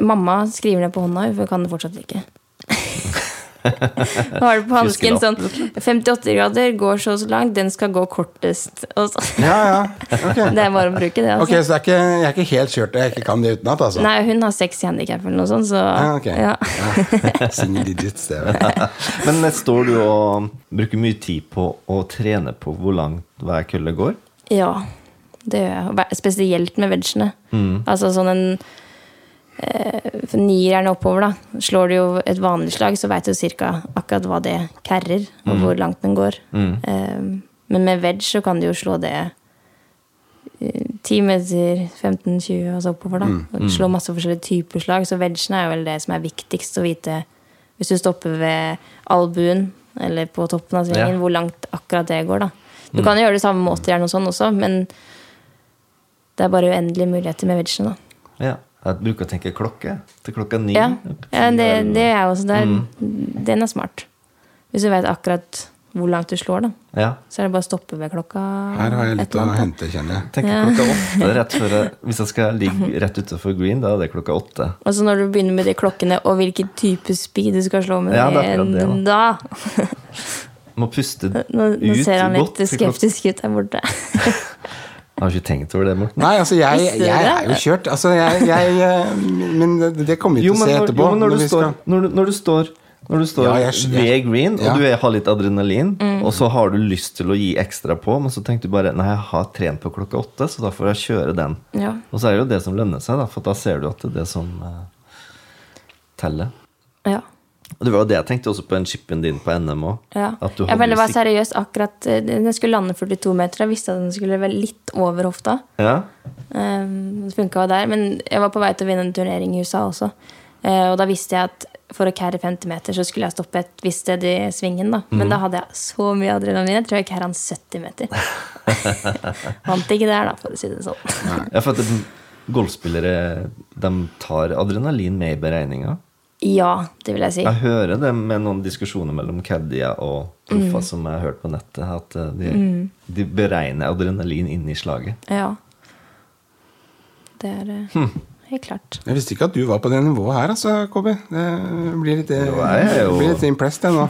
S3: Mamma skriver ned på hånda, hun kan det fortsatt ikke. Hun har det på hansken sånn 58 grader, går så og så langt, den skal gå kortest. Og så.
S2: Ja, ja. Ok,
S3: Det er bare å bruke det,
S2: Ok,
S3: altså.
S2: Så det er ikke, jeg er ikke helt kjørt, jeg ikke kan det utenat, altså?
S3: Nei, hun har seks handikap eller noe sånt, så
S2: Ja, Ah, ok.
S3: ja.
S2: Ja. Single digits, det. vet jeg.
S1: Men eh, står du og um, bruker mye tid på å trene på hvor langt hver kølle går?
S3: Ja, det gjør jeg. Og hver- Spesielt med vegene.
S2: Mm.
S3: Altså sånn en eh, for nieren oppover, da. Slår du jo et vanlig slag, så veit du cirka akkurat hva det kerrer, og hvor langt den går. Eh, men med veg så kan du jo slå det eh, 10 meter, 15-20 og så oppover, da. Og Slå masse forskjellige typer slag. Så vegene er jo vel det som er viktigst å vite hvis du stopper ved albuen eller på toppen av svingen,
S1: Ja.
S3: hvor langt akkurat det går, da. Du kan jo gjøre det samme med åttieren og sånn også, men det er bare uendelige muligheter med vegene, da.
S1: Ja. Jeg bruker å tenke klokke til klokka ni.
S3: Ja, ja det, det er jeg også. Det er, Den er smart. Hvis du vet akkurat hvor langt du slår, da.
S1: Ja.
S3: Så er det bare å stoppe ved klokka.
S2: Her har jeg
S3: et
S2: litt å
S3: eller annet.
S2: hente, kjenner jeg.
S1: Tenker klokka åtte rett før jeg, Hvis jeg skal ligge rett utenfor green, da er det klokka åtte.
S3: Og så når du begynner med de klokkene, og hvilken type speed du skal slå med
S1: Ja, det er akkurat det,
S3: en- da.
S1: Må puste ut
S3: Nå, nå ser han litt
S1: godt til klokka-
S3: skeptisk ut der borte.
S1: Jeg har ikke tenkt over det, Morten.
S2: Nei, altså, jeg,
S3: Visste du
S2: jeg
S3: det?
S2: er jo kjørt. Altså, jeg, jeg eh, Men det- det kommer vi
S1: Jo,
S2: til å
S1: men
S2: se
S1: når,
S2: etterpå.
S1: jo, men når, du
S2: vi skal-
S1: står, når, du, når du står når du står
S2: Ja, jeg skj-
S1: ved
S2: jeg-
S1: green, og
S2: ja.
S1: du er, har litt adrenalin,
S3: Mm.
S1: og så har du lyst til å gi ekstra på, men så tenker du bare Nei, jeg har trent på klokka åtte, så da får jeg kjøre den.
S3: Ja.
S1: Og så er det jo det som lønner seg, da, for da ser du at det er det som eh, teller.
S3: ja.
S1: Og det var jo det jeg tenkte også på den chipen din på NM òg.
S3: Ja. ja, men det var seriøst akkurat eh, Den skulle lande 42 meter. Jeg visste at den skulle være litt over hofta.
S1: ja?
S3: Um, Det funka jo der, men jeg var på vei til å vinne en turnering i USA også. Eh, Og da visste jeg at for å carry 50 meter så skulle jeg stoppe et visst sted i svingen. da
S1: Mhm.
S3: Men da hadde jeg så mye adrenalin. Jeg tror jeg carra 70 meter. Vant ikke der, da, for å si det sånn.
S1: ja, for at det, golfspillere de tar adrenalin med i beregninga.
S3: Ja, det vil jeg si.
S1: Jeg hører det med noen diskusjoner mellom caddier og proffer
S3: Mm.
S1: som jeg har hørt på nettet, at eh, de, de beregner adrenalin inni slaget.
S3: Ja. Det er eh,
S1: Hm.
S3: helt klart.
S2: Jeg visste ikke at du var på det nivået her, altså, Kobi. Det blir litt, eh,
S1: jeg er jo-
S2: blir litt impressed, jeg nå.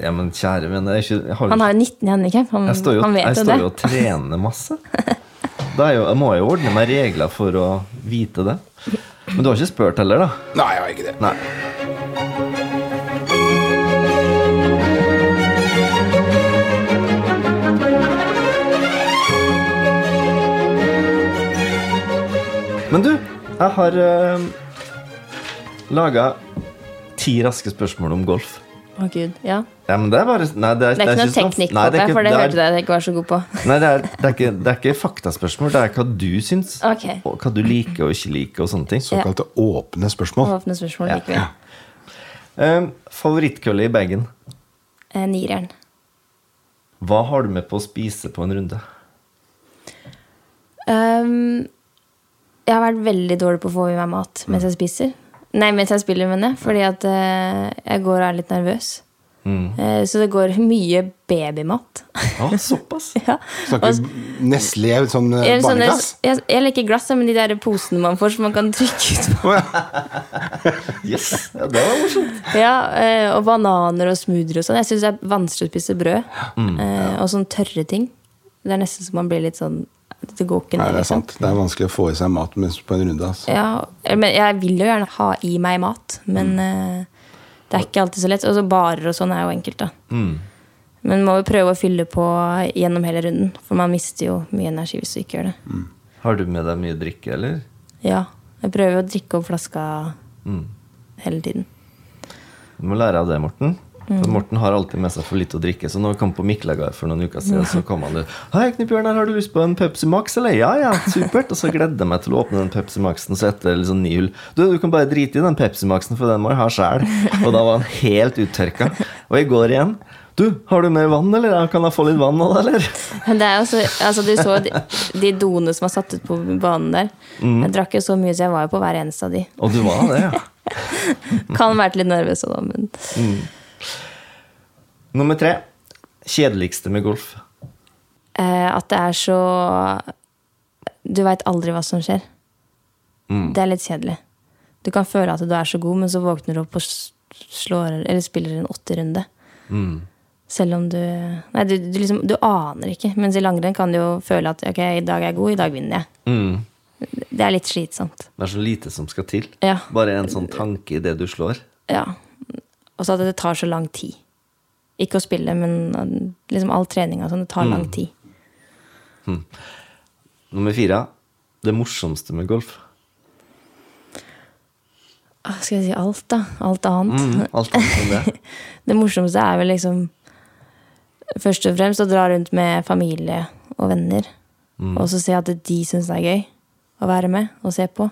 S1: Ja, men kjære vene, jeg, er ikke, jeg, har,
S3: Han
S1: jo-
S3: har jo 19 i handikap. Han,
S1: jeg står jo,
S3: han vet
S1: jeg
S3: jo
S1: står
S3: det.
S1: jo og trener masse. Da er jo, jeg må jo ordne meg regler for å vite det. Men du har ikke spurt heller, da?
S2: Nei, jeg har ikke det.
S1: Nei. Men du, jeg har uh, laga ti raske spørsmål om golf.
S3: Å, gud. Ja.
S1: Ja, men det er bare Nei, det er,
S3: Det er ikke noe
S1: sånn-
S3: teknikk på
S1: Nei,
S3: det,
S1: ikke-
S3: for det
S1: er-
S3: hørte jeg jeg ikke var så god på.
S1: Nei, det er, det, er ikke, det er ikke faktaspørsmål. Det er hva du syns.
S3: Ok.
S1: Og hva du liker og ikke liker, og sånne ting.
S2: Såkalte åpne spørsmål.
S3: Åpne spørsmål
S1: Ja.
S3: likevel.
S1: Um, favorittkølle i bagen.
S3: Eh, Nireren.
S1: Hva har du med på å spise på en runde?
S3: Ehm, jeg har vært veldig dårlig på å få i meg mat mens
S2: Mm.
S3: jeg spiser. Nei, mens jeg spiller, mener jeg. Fordi at eh, jeg går og er litt nervøs.
S2: Mm.
S3: Eh, så det går mye babymat.
S1: Ja, såpass.
S3: ja. Og
S2: Snakker
S3: s-
S2: Nestlé sånn eh,
S3: jeg, sånne,
S2: barneglass?
S3: jeg, jeg liker glass, men de der posene man får som man kan trykke ut på.
S1: Yes, ja, Det var morsomt.
S3: Ja, eh, Og bananer og smoothier og sånn. Jeg syns det er vanskelig å spise brød.
S2: Mm.
S3: Eh, og sånne tørre ting. Det er nesten så man blir litt sånn Det går ikke
S2: Nei,
S3: ned,
S2: det er
S3: liksom.
S2: sant. Det er vanskelig å få i seg mat mens på en runde. Altså.
S3: Ja, men jeg vil jo gjerne ha i meg mat, men eh, det er ikke alltid så lett. Og så barer og sånn er jo enkelt, da. Men må jo prøve å fylle på gjennom hele runden, for man mister jo mye energi hvis du ikke gjør det.
S1: Har du med deg mye drikke, eller?
S3: Ja, jeg prøver jo å drikke opp flaska hele tiden.
S1: Du må lære av det, Morten. For Morten har alltid med seg for lite å drikke. Så når vi kom på Miklagard for noen uker siden, så kom han ut. Hei, Knut Bjørnar, har du lyst på en Pepsi Max, eller? Ja, ja, supert. Og så gledde jeg meg til å åpne den Pepsi Maxen, så etter liksom ni hull Du, du kan bare drite i den Pepsi Maxen, for den må jeg ha sjæl. Og da var han helt uttørka. Og i går igjen. Du, har du mer vann, eller? Ja, Kan jeg få litt vann nå, eller?
S3: Men det er jo så, altså du så de, de doene som er satt ut på banen der. Jeg drakk jo så mye, så jeg var jo på hver eneste av de.
S1: Og du var det, ja.
S3: Kan være litt nervøs av dem, men
S1: Nummer tre. Kjedeligste med golf.
S3: Eh, at det er så Du veit aldri hva som skjer.
S1: Mm.
S3: Det er litt kjedelig. Du kan føle at du er så god, men så våkner du opp og s- slår, eller spiller en åtterunde.
S1: Mm.
S3: Selv om du Nei, du, du, liksom, du aner ikke. Mens i langrenn kan du jo føle at ok, i dag er jeg god, i dag vinner jeg.
S1: Mm.
S3: Det er litt slitsomt.
S1: Det er så lite som skal til.
S3: Ja.
S1: Bare en sånn tanke i det du slår.
S3: Ja. Og så at det tar så lang tid. Ikke å spille, men eh, liksom all treninga sånn. Det tar
S1: Mm.
S3: lang tid.
S1: Nummer fire. Det morsomste med golf.
S3: Hva skal jeg si? Alt, da. Alt annet.
S1: Mm, alt annet enn det.
S3: Det morsomste er vel liksom Først og fremst å dra rundt med familie og venner.
S1: Mm.
S3: Og så se at de syns det er gøy å være med og se på.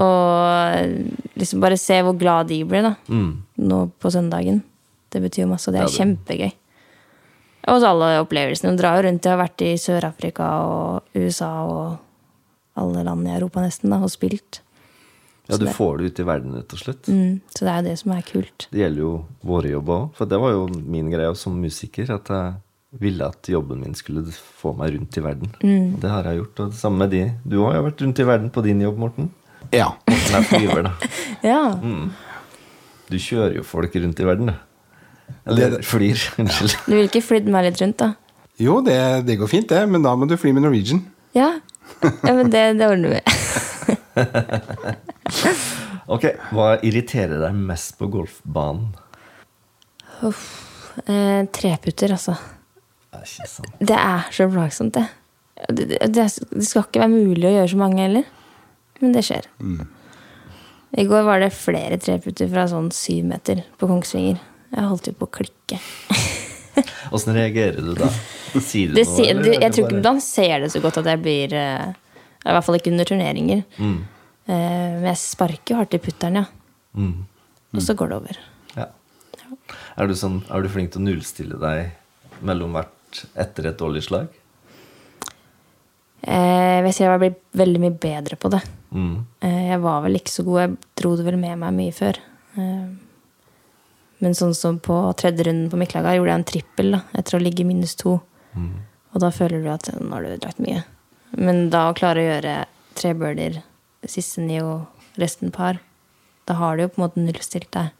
S3: Og liksom bare se hvor glad de blir da nå på søndagen. Det betyr jo masse, og det er
S1: Mm. Ja, det-
S3: kjempegøy. Og så alle opplevelsene. Dra jo rundt. Jeg har vært i Sør-Afrika og USA og alle land i Europa nesten da, og spilt.
S1: Ja, du får det ut i verden, rett og slett.
S3: Mm. Så det er jo det som er kult.
S1: Det gjelder jo våre jobber òg. For det var jo min greie som musiker. At jeg ville at jobben min skulle få meg rundt i verden. Og det har jeg gjort. Og det samme med de. Du òg har vært rundt i verden på din jobb, Morten.
S2: Ja.
S1: Morten er flyver, da.
S3: Ja,
S1: Mm. Du kjører jo folk rundt i verden, du. Eller flyr. Unnskyld.
S3: Du vil ikke flydd meg litt rundt, da?
S2: Jo, det, det går fint, det, men da må du fly med Norwegian.
S3: Ja, ja men det, det ordner vi.
S1: Ok, hva irriterer deg mest på golfbanen?
S3: Eh, treputer, altså.
S1: Det er ikke sant.
S3: Det er så plagsomt, det. Det, det. det skal ikke være mulig å gjøre så mange heller. Men det skjer. I går var det flere treputer fra sånn syv meter på Kongsvinger. Jeg holdt jo på å klikke.
S1: Åssen reagerer du da? Sier du
S3: Det,
S1: noe?
S3: si-
S1: eller
S3: det,
S1: er
S3: jeg tror
S1: bare-
S3: ikke man ser det så godt at jeg blir eh, I hvert fall ikke under turneringer. Eh, men jeg sparker jo hardt i putteren, ja. Og så går det over.
S1: Ja. Er, du sånn, er du flink til å nullstille deg mellom hvert etter et dårlig slag?
S3: Eh, jeg ser jeg har blitt veldig mye bedre på det.
S1: Mm.
S3: Eh, Jeg var vel ikke så god. Jeg dro det vel med meg mye før. Eh, Men sånn som på tredje runden på Miklaga gjorde jeg en trippel da, etter å ligge i minus to. Og da føler du at nå har du ødelagt mye. Men da å klare å gjøre tre birdier, siste ni og resten par, da har du jo på en måte nullstilt deg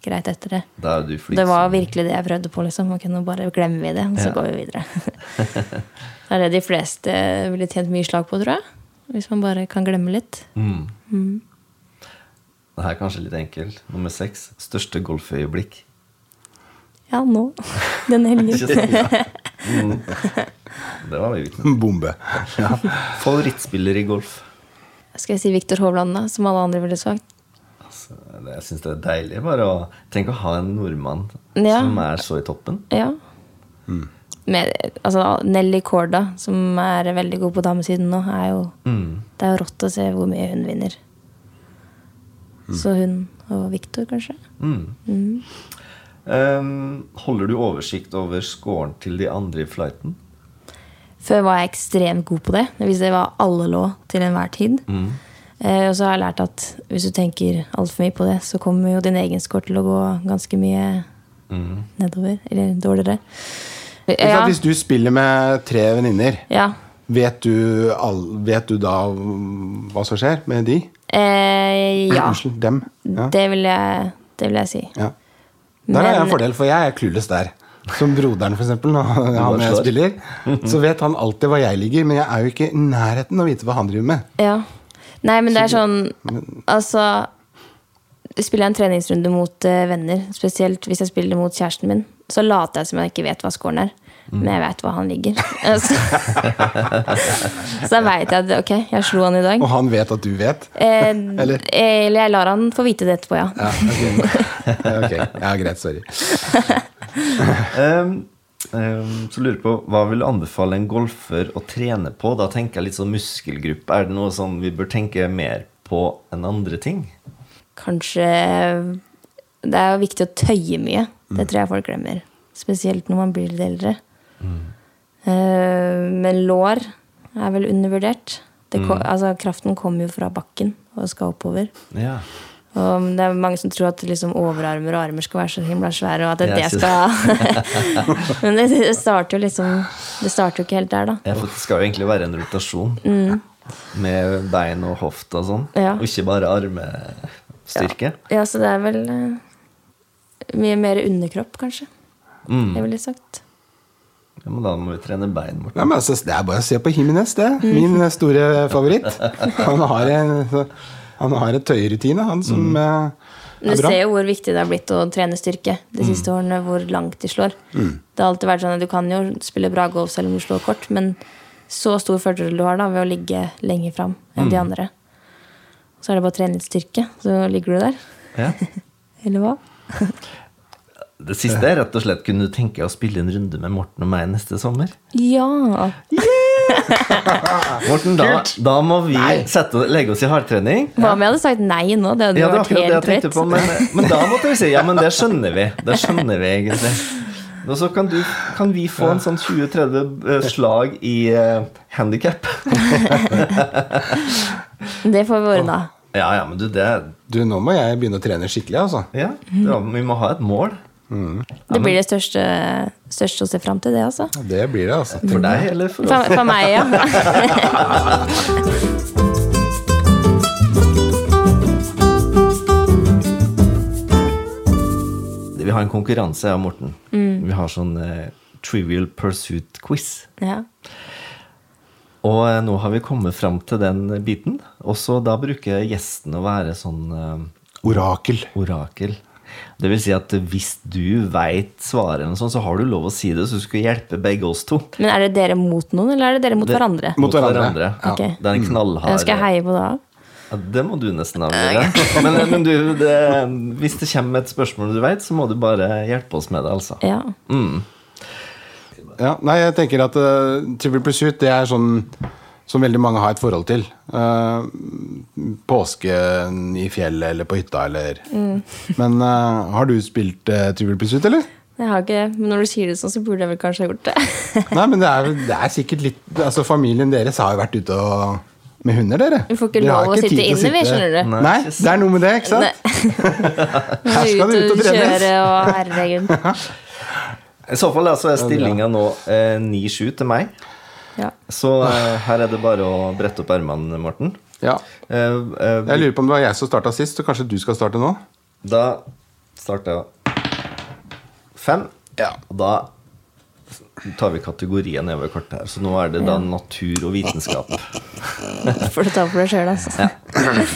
S3: greit etter det.
S1: Da er du flink
S3: Det var
S1: som-
S3: virkelig det jeg prøvde på. liksom. Ok, nå bare glemmer vi det, og
S1: Ja.
S3: så går vi videre. det er det de fleste ville tjent mye slag på, tror jeg. Hvis man bare kan glemme litt.
S1: Mm. Det her er kanskje litt enkelt. Nummer seks. Største golføyeblikk.
S3: Ja, nå. Den
S1: Ikke
S3: helgen.
S1: sant? Ja. Mm. Det var vi vitne til.
S2: Bombe.
S1: Favorittspiller i golf.
S3: Skal jeg si Viktor Hovland, da? Som alle andre ville sagt.
S1: Altså, det, jeg syns det er deilig bare å Tenk å ha en nordmann
S3: Ja.
S1: som er så i toppen.
S3: Ja.
S1: Mm.
S3: Med, altså, Nelly Korda, som er veldig god på damesiden nå, er jo
S1: Mm.
S3: Det er jo rått å se hvor mye hun vinner.
S1: Mm.
S3: Så hun og Viktor, kanskje.
S1: Ehm, holder du oversikt over scoren til de andre i flighten?
S3: Før var jeg ekstremt god på det. Det visste jeg hva alle lå til enhver tid.
S2: Mm.
S3: Eh, og så har jeg lært at hvis du tenker altfor mye på det, så kommer jo din egen score til å gå ganske mye nedover. Eller dårligere.
S2: Mm. Ikke
S3: Ja,
S2: sant? Hvis du spiller med tre venninner,
S3: ja.
S2: vet, du all- vet du da mm, hva som skjer med de?
S3: Eh, ja.
S2: Unnskyld, dem. Ja.
S3: Det vil jeg, det vil jeg si.
S2: Ja. Der har jeg en
S3: Men-
S2: fordel, for jeg er clueless der. Som broderen, for eksempel, når han jeg
S1: slår.
S2: spiller. Så vet han alltid hvor jeg ligger, men jeg er jo ikke i nærheten av å vite hva han driver med.
S3: Ja. Nei, men det er sånn Altså Spiller jeg en treningsrunde mot eh, venner, spesielt hvis jeg spiller mot kjæresten min, så later jeg som jeg ikke vet hva scoren er, men jeg vet hva han ligger. så så da veit jeg at ok, jeg slo han i dag.
S2: Og han vet at du vet.
S3: Eh,
S2: Eller?
S3: eller? jeg lar han få vite det etterpå, ja.
S2: Ja, ok. Ja, ok. ja greit. Sorry.
S1: Ehm, ehm, så lurer jeg på, Hva vil du anbefale en golfer å trene på? Da tenker jeg litt sånn muskelgruppe. Er det noe sånn vi bør tenke mer på enn andre ting?
S3: Kanskje Det er jo viktig å tøye mye. Det tror jeg folk glemmer. Spesielt når man blir litt eldre. Eh, men lår er vel undervurdert. Det ko altså, kraften kommer jo fra bakken og skal oppover.
S1: Ja.
S3: Og det er mange som tror at liksom, overarmer og armer skal være så himla svære. Og at det, er
S1: Jeg
S3: det skal Men det, det starter jo liksom Det starter jo ikke helt der, da.
S1: Ja, for det skal jo egentlig være en rotasjon med bein og hofte og sånn.
S3: Mm. Ja.
S1: Og ikke bare armestyrke.
S3: Ja, så det er vel eh, mye mer underkropp, kanskje.
S1: Mm.
S3: Jeg ville sagt.
S1: Ja, men da må vi trene bein, Morten.
S2: Ja, men altså, det er bare å se på Jimenez, det.
S3: Mm.
S2: Min eh, store favoritt. Han har en, han har en tøyerutine, han som eh,
S3: Men
S2: er
S3: du
S2: bra.
S3: Mm. ser jo hvor viktig det har blitt å trene styrke de
S1: Mm.
S3: siste årene. Hvor langt de slår. Det har alltid vært sånn at Du kan jo spille bra golf selv om du slår kort, men så stor fordel du har da ved å ligge lenger fram enn
S1: Mm.
S3: de andre. Så er det bare å trene litt styrke, så ligger du der.
S1: Ja.
S3: Eller hva?
S1: Det siste er rett og slett kunne du tenke deg å spille en runde med Morten og meg neste sommer?
S3: Ja!
S1: Morten, da, da må vi sette, legge oss i hardtrening.
S3: Hva om jeg hadde sagt nei nå? Det hadde
S1: Ja, det
S3: jo
S1: var
S3: vært
S1: akkurat det jeg
S3: helt
S1: tenkte
S3: rett.
S1: på, men, eh, men da måtte vi si ja, men det skjønner vi. Det skjønner vi egentlig. Og så kan, du, kan vi få en sånn 20-30 slag i uh, handikap.
S3: Det får vi ordna.
S1: Ja, ja, men du, det
S2: Du, nå må jeg begynne å trene skikkelig, altså.
S1: Ja, det var- vi må ha et mål.
S3: Det blir det største, største å se fram til, det, altså.
S2: Det blir det, altså.
S1: For deg eller for
S3: For,
S1: oss?
S3: for meg, ja.
S1: Vi har en konkurranse, jeg og Morten. Vi har sånn eh, Trivial Pursuit-quiz.
S3: ja.
S1: Og eh, nå har vi kommet fram til den biten. Også da bruker gjesten å være sånn eh,
S2: Orakel.
S1: orakel. Det vil si at hvis du veit svaret, eller noe sånt, så har du lov å si det, så du skal hjelpe begge oss to.
S3: Men er det dere mot noen, eller er det dere mot hverandre?
S2: Mot hverandre. Mm.
S1: Ja.
S3: Ok.
S1: Det er en knallhard
S3: Skal jeg heie på da?
S1: Ja, Det må du nesten avgjøre. Men, men du, det, hvis det kommer et spørsmål du veit, så må du bare hjelpe oss med det, altså.
S3: Ja.
S2: Ja, nei, jeg tenker at uh, Trivial Pursuit det er sånn som veldig mange har et forhold til. Eh, påsken i fjellet eller på hytta eller
S3: Mm.
S2: Men eh, har du spilt eh, Trivial Pursuit, eller?
S3: Jeg har ikke det, men når du sier det sånn, så burde jeg vel kanskje ha gjort det.
S2: Nei, men det er, det er sikkert litt Altså, Familien deres har jo vært ute og med hunder, dere.
S3: Vi får ikke
S2: Dere har
S3: lov å
S2: tid
S3: sitte
S2: til
S3: inne, vi, skjønner du.
S1: Nei.
S2: Nei, det er noe med det, ikke sant? Her skal
S3: Ut
S2: det ut
S3: og
S2: og trenes.
S3: kjøre og herregud.
S1: I så fall altså, er stillinga nå eh, 9-7 til meg.
S3: Ja.
S1: Så eh, her er det bare å brette opp ermene, Morten.
S2: Ja.
S1: Eh, eh,
S2: Jeg lurer på om det var jeg som starta sist, så kanskje du skal starte nå?
S1: Da starter jeg. Fem.
S2: Ja.
S1: Og da tar vi kategorien nedover kortet her. Så nå er det da natur og vitenskap.
S3: Får du ta for deg sjøl, altså.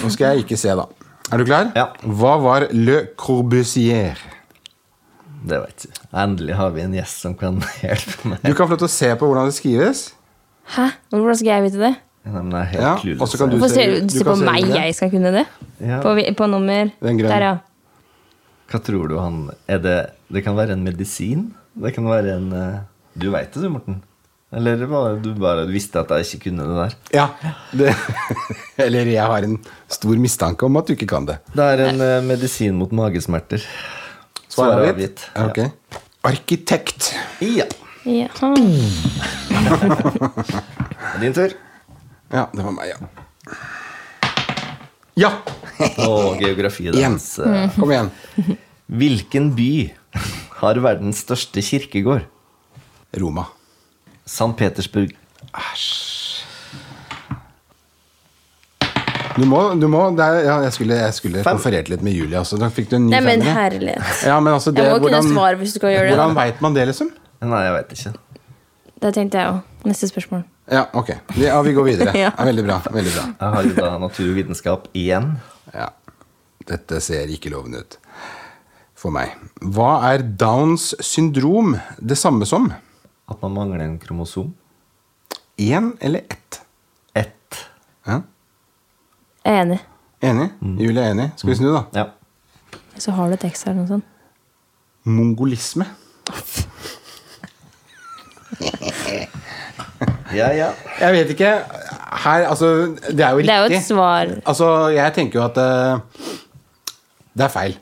S2: Nå skal jeg ikke se, da. Er du klar?
S1: Ja.
S2: Hva var Le Corbusier?
S1: Det vet jeg. Endelig har vi en gjest som kan hjelpe meg.
S2: Du kan få lov til å se på hvordan det skrives.
S3: Hæ? Hvordan skal jeg vite det?
S1: Nei, men jeg er helt
S2: Ja, og
S1: clueless.
S2: så kan du-
S1: her.
S3: Hvorfor
S2: ser-
S3: ser du, du ser
S2: kan
S3: på
S2: se
S3: meg
S2: det.
S3: jeg skal kunne det?
S1: Ja.
S3: På, vi- på nummer
S2: Den grønne.
S3: Der, ja.
S1: Hva tror du han Er det Det kan være en medisin? Det kan være en eh, Du veit det, du, Morten? Eller var det du bare visste at jeg ikke kunne det der?
S2: Ja. Det, eller jeg har en stor mistanke om at du ikke kan det.
S1: Det er en eh, medisin mot magesmerter.
S2: Svaret
S1: Svar
S2: avgitt?
S1: Ja.
S2: Ja, ok. Arkitekt.
S1: ja.
S3: ja.
S1: Din tur.
S2: Ja, det var meg, ja. Ja!
S1: Og geografi. det er
S2: Igjen.
S1: hans, eh,
S2: Kom igjen.
S1: Hvilken by har verdens største kirkegård?
S2: Roma.
S1: St. Petersburg.
S2: Du må, du må det er, ja, Jeg skulle, jeg skulle
S1: Fem.
S2: konferert litt med Julie, altså. Da fikk du en ny
S3: Nei, men
S2: femmer, ja.
S3: herlighet.
S2: Ja, men altså det,
S3: Jeg må kunne
S2: hvordan,
S3: svare hvis du skal gjøre det, da.
S2: Hvordan veit man det, liksom?
S1: Nei, jeg veit ikke.
S3: Det tenkte jeg òg. Neste spørsmål.
S2: Ja, ok. Ja, vi går videre.
S3: Ja.
S2: ja. Veldig bra. veldig bra
S1: Jeg har jo da naturvitenskap igjen.
S2: ja. Dette ser ikke lovende ut for meg. Hva er Downs syndrom det samme som?
S1: At man mangler en kromosom.
S2: Én eller ett?
S1: Ett.
S2: Ja.
S3: Jeg er enig.
S2: Enig? Julie er enig. Skal vi snu, da?
S1: Ja.
S3: Så har du tekst her, noe sånt.
S2: Mongolisme.
S1: Ja, ja.
S2: Jeg vet ikke. Her, altså Det er jo riktig.
S3: Det er jo et svar
S2: Altså, jeg tenker jo at eh, det er feil.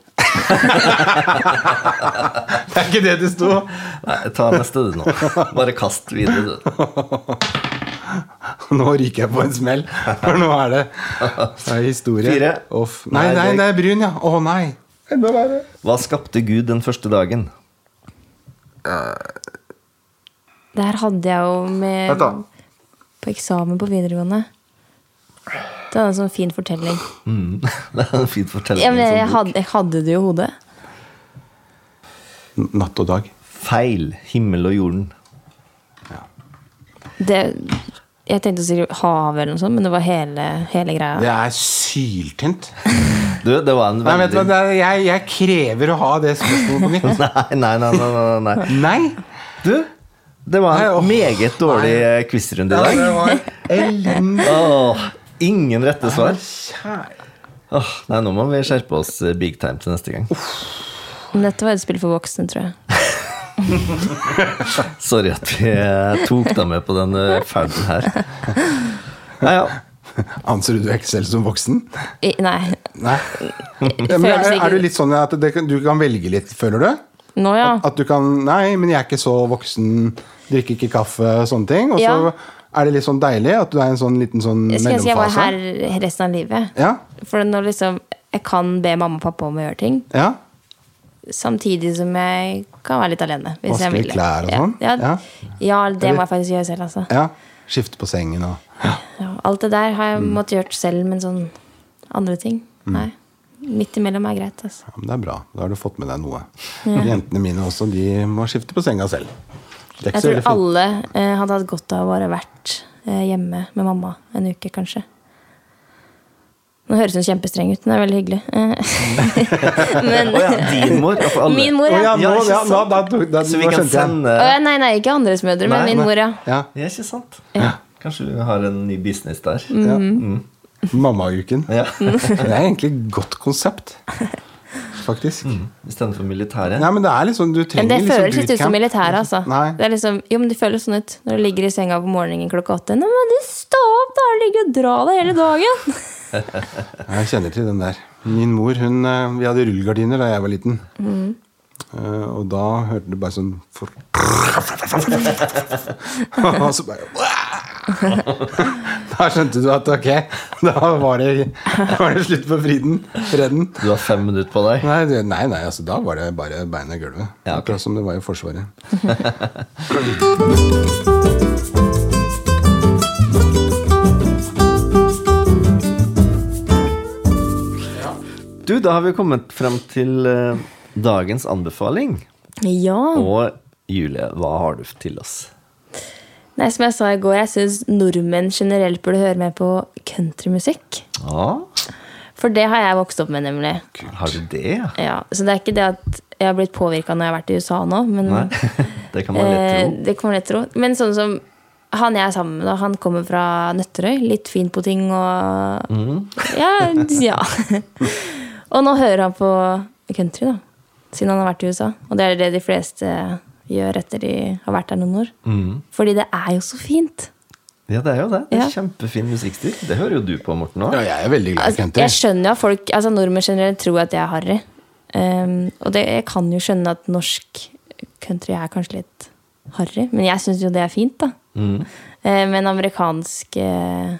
S2: det er ikke det det sto.
S1: Nei, ta neste du nå. Bare kast videre, du.
S2: Nå ryker jeg på en smell, for nå er det, det er historie.
S1: Fire.
S2: Off. Nei,
S1: Nei,
S2: nei,
S1: det-
S2: det er brun, ja. Å nei. Enda verre.
S1: Hva skapte Gud den første dagen?
S3: Det her hadde jeg jo med
S2: Vent da.
S3: på eksamen på videregående. Det er en sånn fin fortelling.
S1: Mm. Det er en fin fortelling. liksom.
S3: Ja, men
S1: som
S3: jeg,
S2: Sånn
S1: bok.
S3: hadde, jeg hadde det jo i hodet.
S2: N- Natt og dag.
S1: Feil. Himmel og jorden.
S3: Det, jeg tenkte å si havet eller noe sånt, men det var hele, hele
S2: Det
S3: greia.
S2: er syltynt.
S1: Du, det var en
S2: Nei, vet du
S1: veldig
S2: hva, det er, jeg, jeg krever å ha det spørsmålet på nytt.
S1: Nei, nei, nei, nei, nei, nei.
S2: Nei.
S1: Du, det var
S2: Nei, åh.
S1: en meget dårlig eh, quizrunde i dag.
S2: Ellen
S1: Åh, ingen rette svar.
S2: Kjære
S1: Åh, nei, nå må vi skjerpe oss eh, big time til neste gang.
S3: Men dette var et spill for voksne, tror jeg.
S1: Sorry at vi eh, tok deg med på den eh, ferden her. Ja, ja.
S2: Anser du deg ikke selv som voksen?
S3: I, nei.
S2: Nei. Ja, men
S3: føles
S2: er,
S3: ikke-
S2: er du litt sånn at det, kan- du kan velge litt, føler du?
S3: Nå, ja.
S2: At du kan Nei, men jeg er ikke så voksen, drikker ikke kaffe, sånne ting. Og så
S3: Ja.
S2: er det litt sånn deilig at du er i en sånn liten sånn
S3: Jeg skal jeg si jeg var her
S2: mellomfase.
S3: resten av livet.
S2: Ja,
S3: For når liksom jeg kan be mamma og pappa om å gjøre ting,
S2: ja.
S3: samtidig som jeg kan være litt alene. Hvis
S2: Vaske
S3: jeg vil.
S2: klær og sånn?
S3: Ja, ja, ja, det
S2: Eller-
S3: må jeg faktisk gjøre selv, altså.
S2: ja. Skifte på sengen og
S3: Ja, alt det der har jeg
S2: Mm.
S3: måttet gjøre selv, men sånn andre ting Nei. Midt imellom er greit. Altså.
S2: ja, men Det er bra. Da har du fått med deg noe. Jentene mine også, de må skifte på senga selv. Det er ikke så
S3: Jeg tror
S2: veldig fint.
S3: alle eh, hadde hatt godt av å bare vært eh, hjemme med mamma en uke, kanskje. Nå høres hun kjempestreng ut. Hun er veldig hyggelig. Eh, men
S1: Å ja, din mor. Ja, for alle.
S3: Min mor,
S2: Å ja,
S3: ja.
S2: nå,
S1: ikke
S2: ja, nå,
S1: sant.
S2: da, da, da,
S1: Så vi
S2: nå
S1: kan
S2: skjønte jeg.
S1: sende
S3: Å ja, nei, nei, ikke andres mødre, men
S1: Nei,
S3: min
S1: nei.
S3: mor, ja.
S2: Ja.
S1: Ja, ikke sant? Kanskje du har en ny business der?
S3: Mm.
S2: ja. Mm. Mammauken.
S1: Ja.
S2: Det er egentlig et godt konsept, faktisk.
S1: Mm. Istedenfor militæret?
S2: Nei, men det er liksom, du
S3: Men
S2: trenger
S3: det
S2: liksom
S3: føles litt ut som militæret, altså.
S2: Nei.
S3: Det er liksom, jo, men det føles sånn ut når du ligger i senga på morgenen klokka åtte. Nå må du stå opp, da! Ligge og dra deg hele dagen.
S2: Jeg kjenner til den der. Min mor, hun, eh, vi hadde rullegardiner da jeg var liten. Eh, og da hørte du bare sånn for... Og så bare Da skjønte du at ok, da var det, da var det slutt på friden. Freden.
S1: Du har fem minutter på deg.
S2: Nei, det- nei, nei altså, da var det bare beina i gulvet.
S1: Ja, ok.
S2: Akkurat som det var i Forsvaret.
S1: Du, da har vi kommet frem til eh, dagens anbefaling.
S3: Ja.
S1: Og Julie, hva har du til oss?
S3: Nei, som jeg sa i går, jeg syns nordmenn generelt burde høre mer på countrymusikk.
S1: Ja,
S3: For det har jeg vokst opp med, nemlig.
S1: har du det? ja?
S3: Ja, så det er ikke det at jeg har blitt påvirka når jeg har vært i USA nå, men
S1: Nei, det kan man lett
S3: Mm. eh,
S1: tro.
S3: det kan man lett tro. Men sånn som han jeg er sammen med, da, han kommer fra Nøtterøy. Litt fin på ting og
S1: Mm.
S3: ja, ja. Og nå hører han på country, da. Siden han har vært i USA. Og det er det de fleste gjør etter de har vært der noen år.
S1: Mm.
S3: Fordi det er jo så fint.
S1: Ja, det er jo det. det er
S3: Ja.
S1: Kjempefin musikkstil. Det hører jo du på, Morten.
S2: Ja,
S1: Også.
S2: jeg er veldig glad i
S3: Altså,
S2: country.
S3: jeg skjønner jo at folk, altså Nordmenn generelt tror at jeg er harry. Um, og det, jeg kan jo skjønne at norsk country er kanskje litt harry, men jeg syns jo det er fint, da. Eh, men amerikansk eh,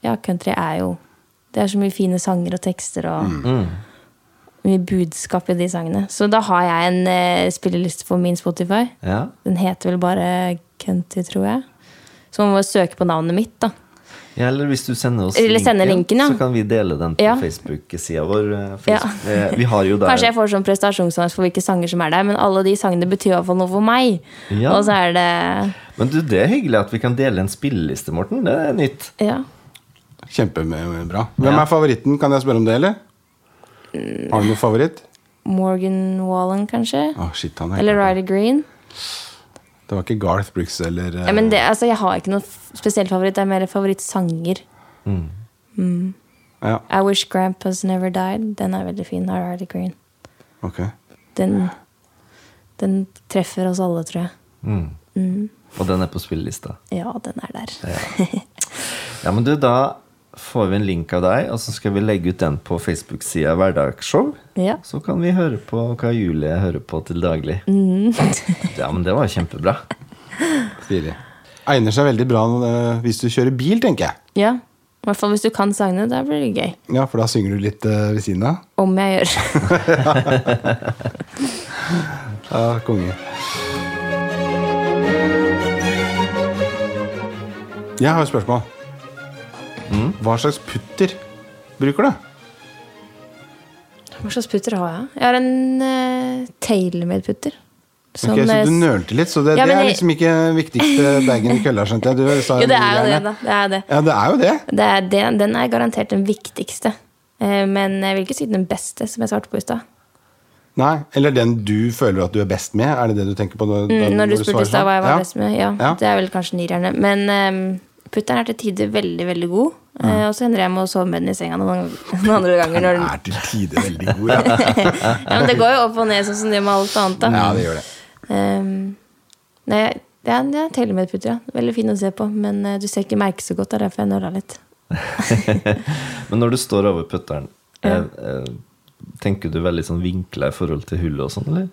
S3: Ja, country er jo Det er så mye fine sanger og tekster og mye budskap i de sangene. Så da har jeg en eh, spilleliste på min Spotify.
S1: Ja.
S3: Den heter vel bare Country, tror jeg. Så man må søke på navnet mitt, da.
S1: ja, eller hvis du sender oss
S3: Eller sender linken, ja.
S1: så kan vi dele den på
S3: Ja.
S1: Facebook-sida vår. eh,
S3: Ja.
S1: Facebook- eh, Vi har jo der
S3: Kanskje jeg får sånn prestasjonsangst for hvilke sanger som er der, men alle de sangene betyr i hvert fall noe for meg.
S1: Ja.
S3: Og så er det
S1: Men du, det er hyggelig at vi kan dele en spilleliste, Morten. Det er nytt.
S3: Ja.
S2: Kjempebra. Hvem
S1: Ja.
S2: er favoritten? Kan jeg spørre om det, eller? Har du noen favoritt?
S3: Morgan Wallen, kanskje?
S2: Å, shit, han er
S3: Eller Ryder Green?
S2: Det var ikke Garth Brooks eller eh,
S3: Ja, men det, altså, jeg har ikke noen f- spesiell favoritt. Det er mer favorittsanger.
S2: eh, ja,
S3: I Wish Grandpa's Never Died. Den er veldig fin. av Ryder Green.
S2: ok.
S3: Den, den treffer oss alle, tror jeg.
S1: Og den er på spillelista.
S3: Ja, den er der.
S1: Ja, men du, da får vi en link av deg, og så skal vi legge ut den på Facebook-sida Hverdagsshow.
S3: Ja.
S1: Så kan vi høre på hva Julie hører på til daglig.
S3: Mhm.
S1: ja, men det var kjempebra.
S2: Stilig. Egner seg veldig bra eh, hvis du kjører bil, tenker jeg.
S3: ja. I hvert fall hvis du kan sangene. Da blir det gøy.
S2: Ja, For da synger du litt eh, ved siden av.
S3: Om jeg gjør.
S2: Ja, konge. Jeg har et spørsmål. Hva slags putter bruker du?
S3: Hva slags putter har jeg? Jeg har en uh, tailmade-putter. Som,
S2: Ok, så
S3: eh,
S2: du nølte litt, så det,
S3: Ja,
S2: det
S3: men
S2: er
S3: jeg-
S2: liksom ikke viktigste bagen i kølla, skjønte jeg. Du sa
S3: Jo, det er jo det,
S2: mye
S3: da. Det er det.
S2: gjerne. Ja, det er jo det.
S3: det, er det den er garantert den viktigste. Eh, Men jeg vil ikke si den beste, som jeg svarte på i stad.
S2: Nei, Eller den du føler at du er best med? Er det det du tenker på? Når,
S3: Mm, Når du
S2: svarer
S3: spurte i stad
S2: sånn?
S3: hva jeg var
S2: Ja.
S3: best med. Ja,
S2: Ja.
S3: Det er vel kanskje nirerne. Men eh, putteren er til tider veldig, veldig god. Eh, Og så hender jeg med å sove med den i senga noen, noen andre ganger. Når
S2: Den
S3: den,
S2: er til tider veldig god, ja.
S3: ja, men det går jo opp og ned, sånn som det med alt annet. Da.
S2: ja det gjør det.
S3: Ehm, nei, det er, det er telemed-putter, ja. Veldig fin å se på. Men eh, du ser ikke merket så godt, det er derfor jeg nøla litt.
S1: Men når du står over putteren, eh, eh, tenker du veldig sånn vinkla i forhold til hullet og sånn, eller?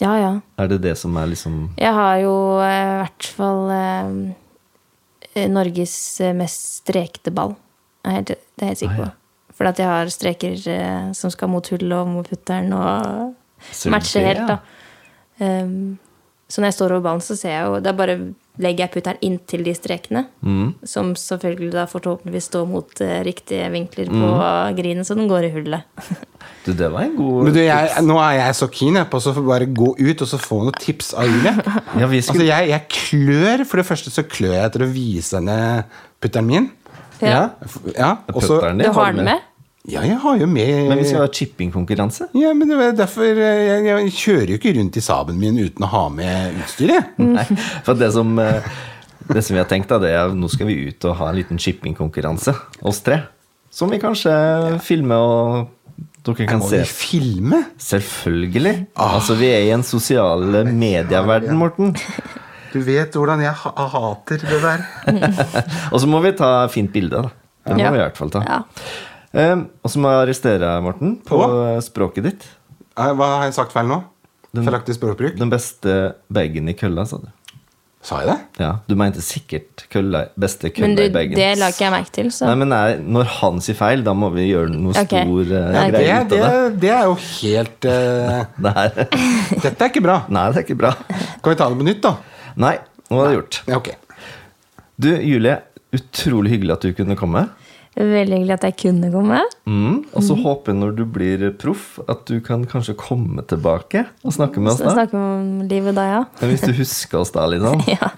S3: Ja, ja.
S1: Er det det som er liksom
S3: Jeg har jo eh, i hvert fall eh, Norges eh, mest strekte ball. Jeg er helt- Det er jeg helt sikker på.
S1: Ah, ja.
S3: For at jeg har streker eh, som skal mot hullet og mot putteren og
S1: Ser du
S3: matcher
S1: det,
S3: helt,
S1: ja?
S3: da. Um, så når jeg står over ballen, så ser jeg jo Da bare legger jeg putteren inntil de strekene.
S1: Mm.
S3: Som selvfølgelig da forhåpentligvis står mot eh, riktige vinkler på
S1: Mm.
S3: grinen, så den går i hullet.
S1: Du, det var en god
S2: Men du, jeg, nå er jeg så keen jeg, på å så bare gå ut og så få noen tips av Julie.
S1: Ja, vi
S2: Altså,
S1: skulle
S2: jeg, jeg klør. For det første så klør jeg etter å vise henne putteren min.
S1: Ja.
S2: Ja, og så
S1: Putteren
S3: Du
S1: din
S3: Altså, har den med?
S2: Ja, jeg har jo
S1: Men vi skal
S2: med
S1: ha chippingkonkurranse.
S2: ja, men det var derfor eh, jeg, jeg kjører jo ikke rundt i Saben min uten å ha med utstyret.
S3: Mm.
S1: Nei, for det som, eh, det som vi har tenkt, da, det er at nå skal vi ut og ha en liten shippingkonkurranse, oss tre. Som vi kanskje filmer og dere kan
S2: Må
S1: se.
S2: vi filme?
S1: Selvfølgelig. Altså, vi er i en sosial eh, medieverden, Morten.
S2: Du vet hvordan jeg ha- hater det der.
S1: Og så må vi ta fint bilde, da. Det må
S3: Ja.
S1: vi i hvert fall ta.
S3: Ja.
S1: Eh, og så må jeg arrestere deg, Morten, på
S2: Å?
S1: eh, språket ditt.
S2: Eh, Hva har jeg sagt feil nå? Feilaktig språkbruk?
S1: Den beste bagen i kølla, sa du.
S2: Sa jeg det?
S1: Ja, Du mente sikkert kølla, beste
S3: Men
S1: kølla
S3: du,
S1: i bagen.
S3: det la ikke jeg merke til, så
S1: Nei, men nei, når han sier feil, da må vi gjøre noe
S3: Ok.
S1: stor eh,
S3: Nei,
S2: Det,
S1: greie ut
S2: det,
S1: av det.
S2: det er jo helt eh,
S1: Det her.
S2: Dette er ikke bra.
S1: Nei, det er ikke bra.
S2: Kan vi ta det på nytt, da?
S1: Nei, nå er det gjort.
S2: Ja, ok.
S1: Du, Julie, utrolig hyggelig at du kunne komme.
S3: Veldig hyggelig at jeg kunne komme.
S1: Mm. Og
S3: Mhm.
S1: så håper jeg når du blir proff, at du kan kanskje komme tilbake og snakke med oss
S3: Så
S1: da.
S3: snakke om livet da, ja.
S1: Men Hvis du husker oss da, liksom.
S3: ja.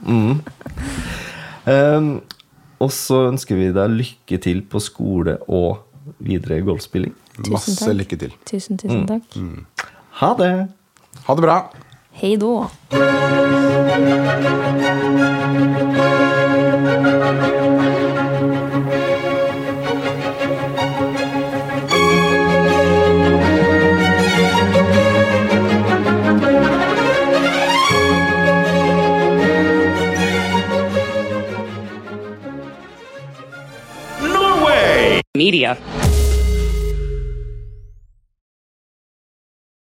S1: Um, og så ønsker vi deg lykke til på skole og videre i golfspilling.
S2: Masse
S3: takk.
S2: lykke til.
S3: Tusen, tusen takk.
S1: Ha det!
S2: Ha det bra.
S3: Hei då.
S4: Media.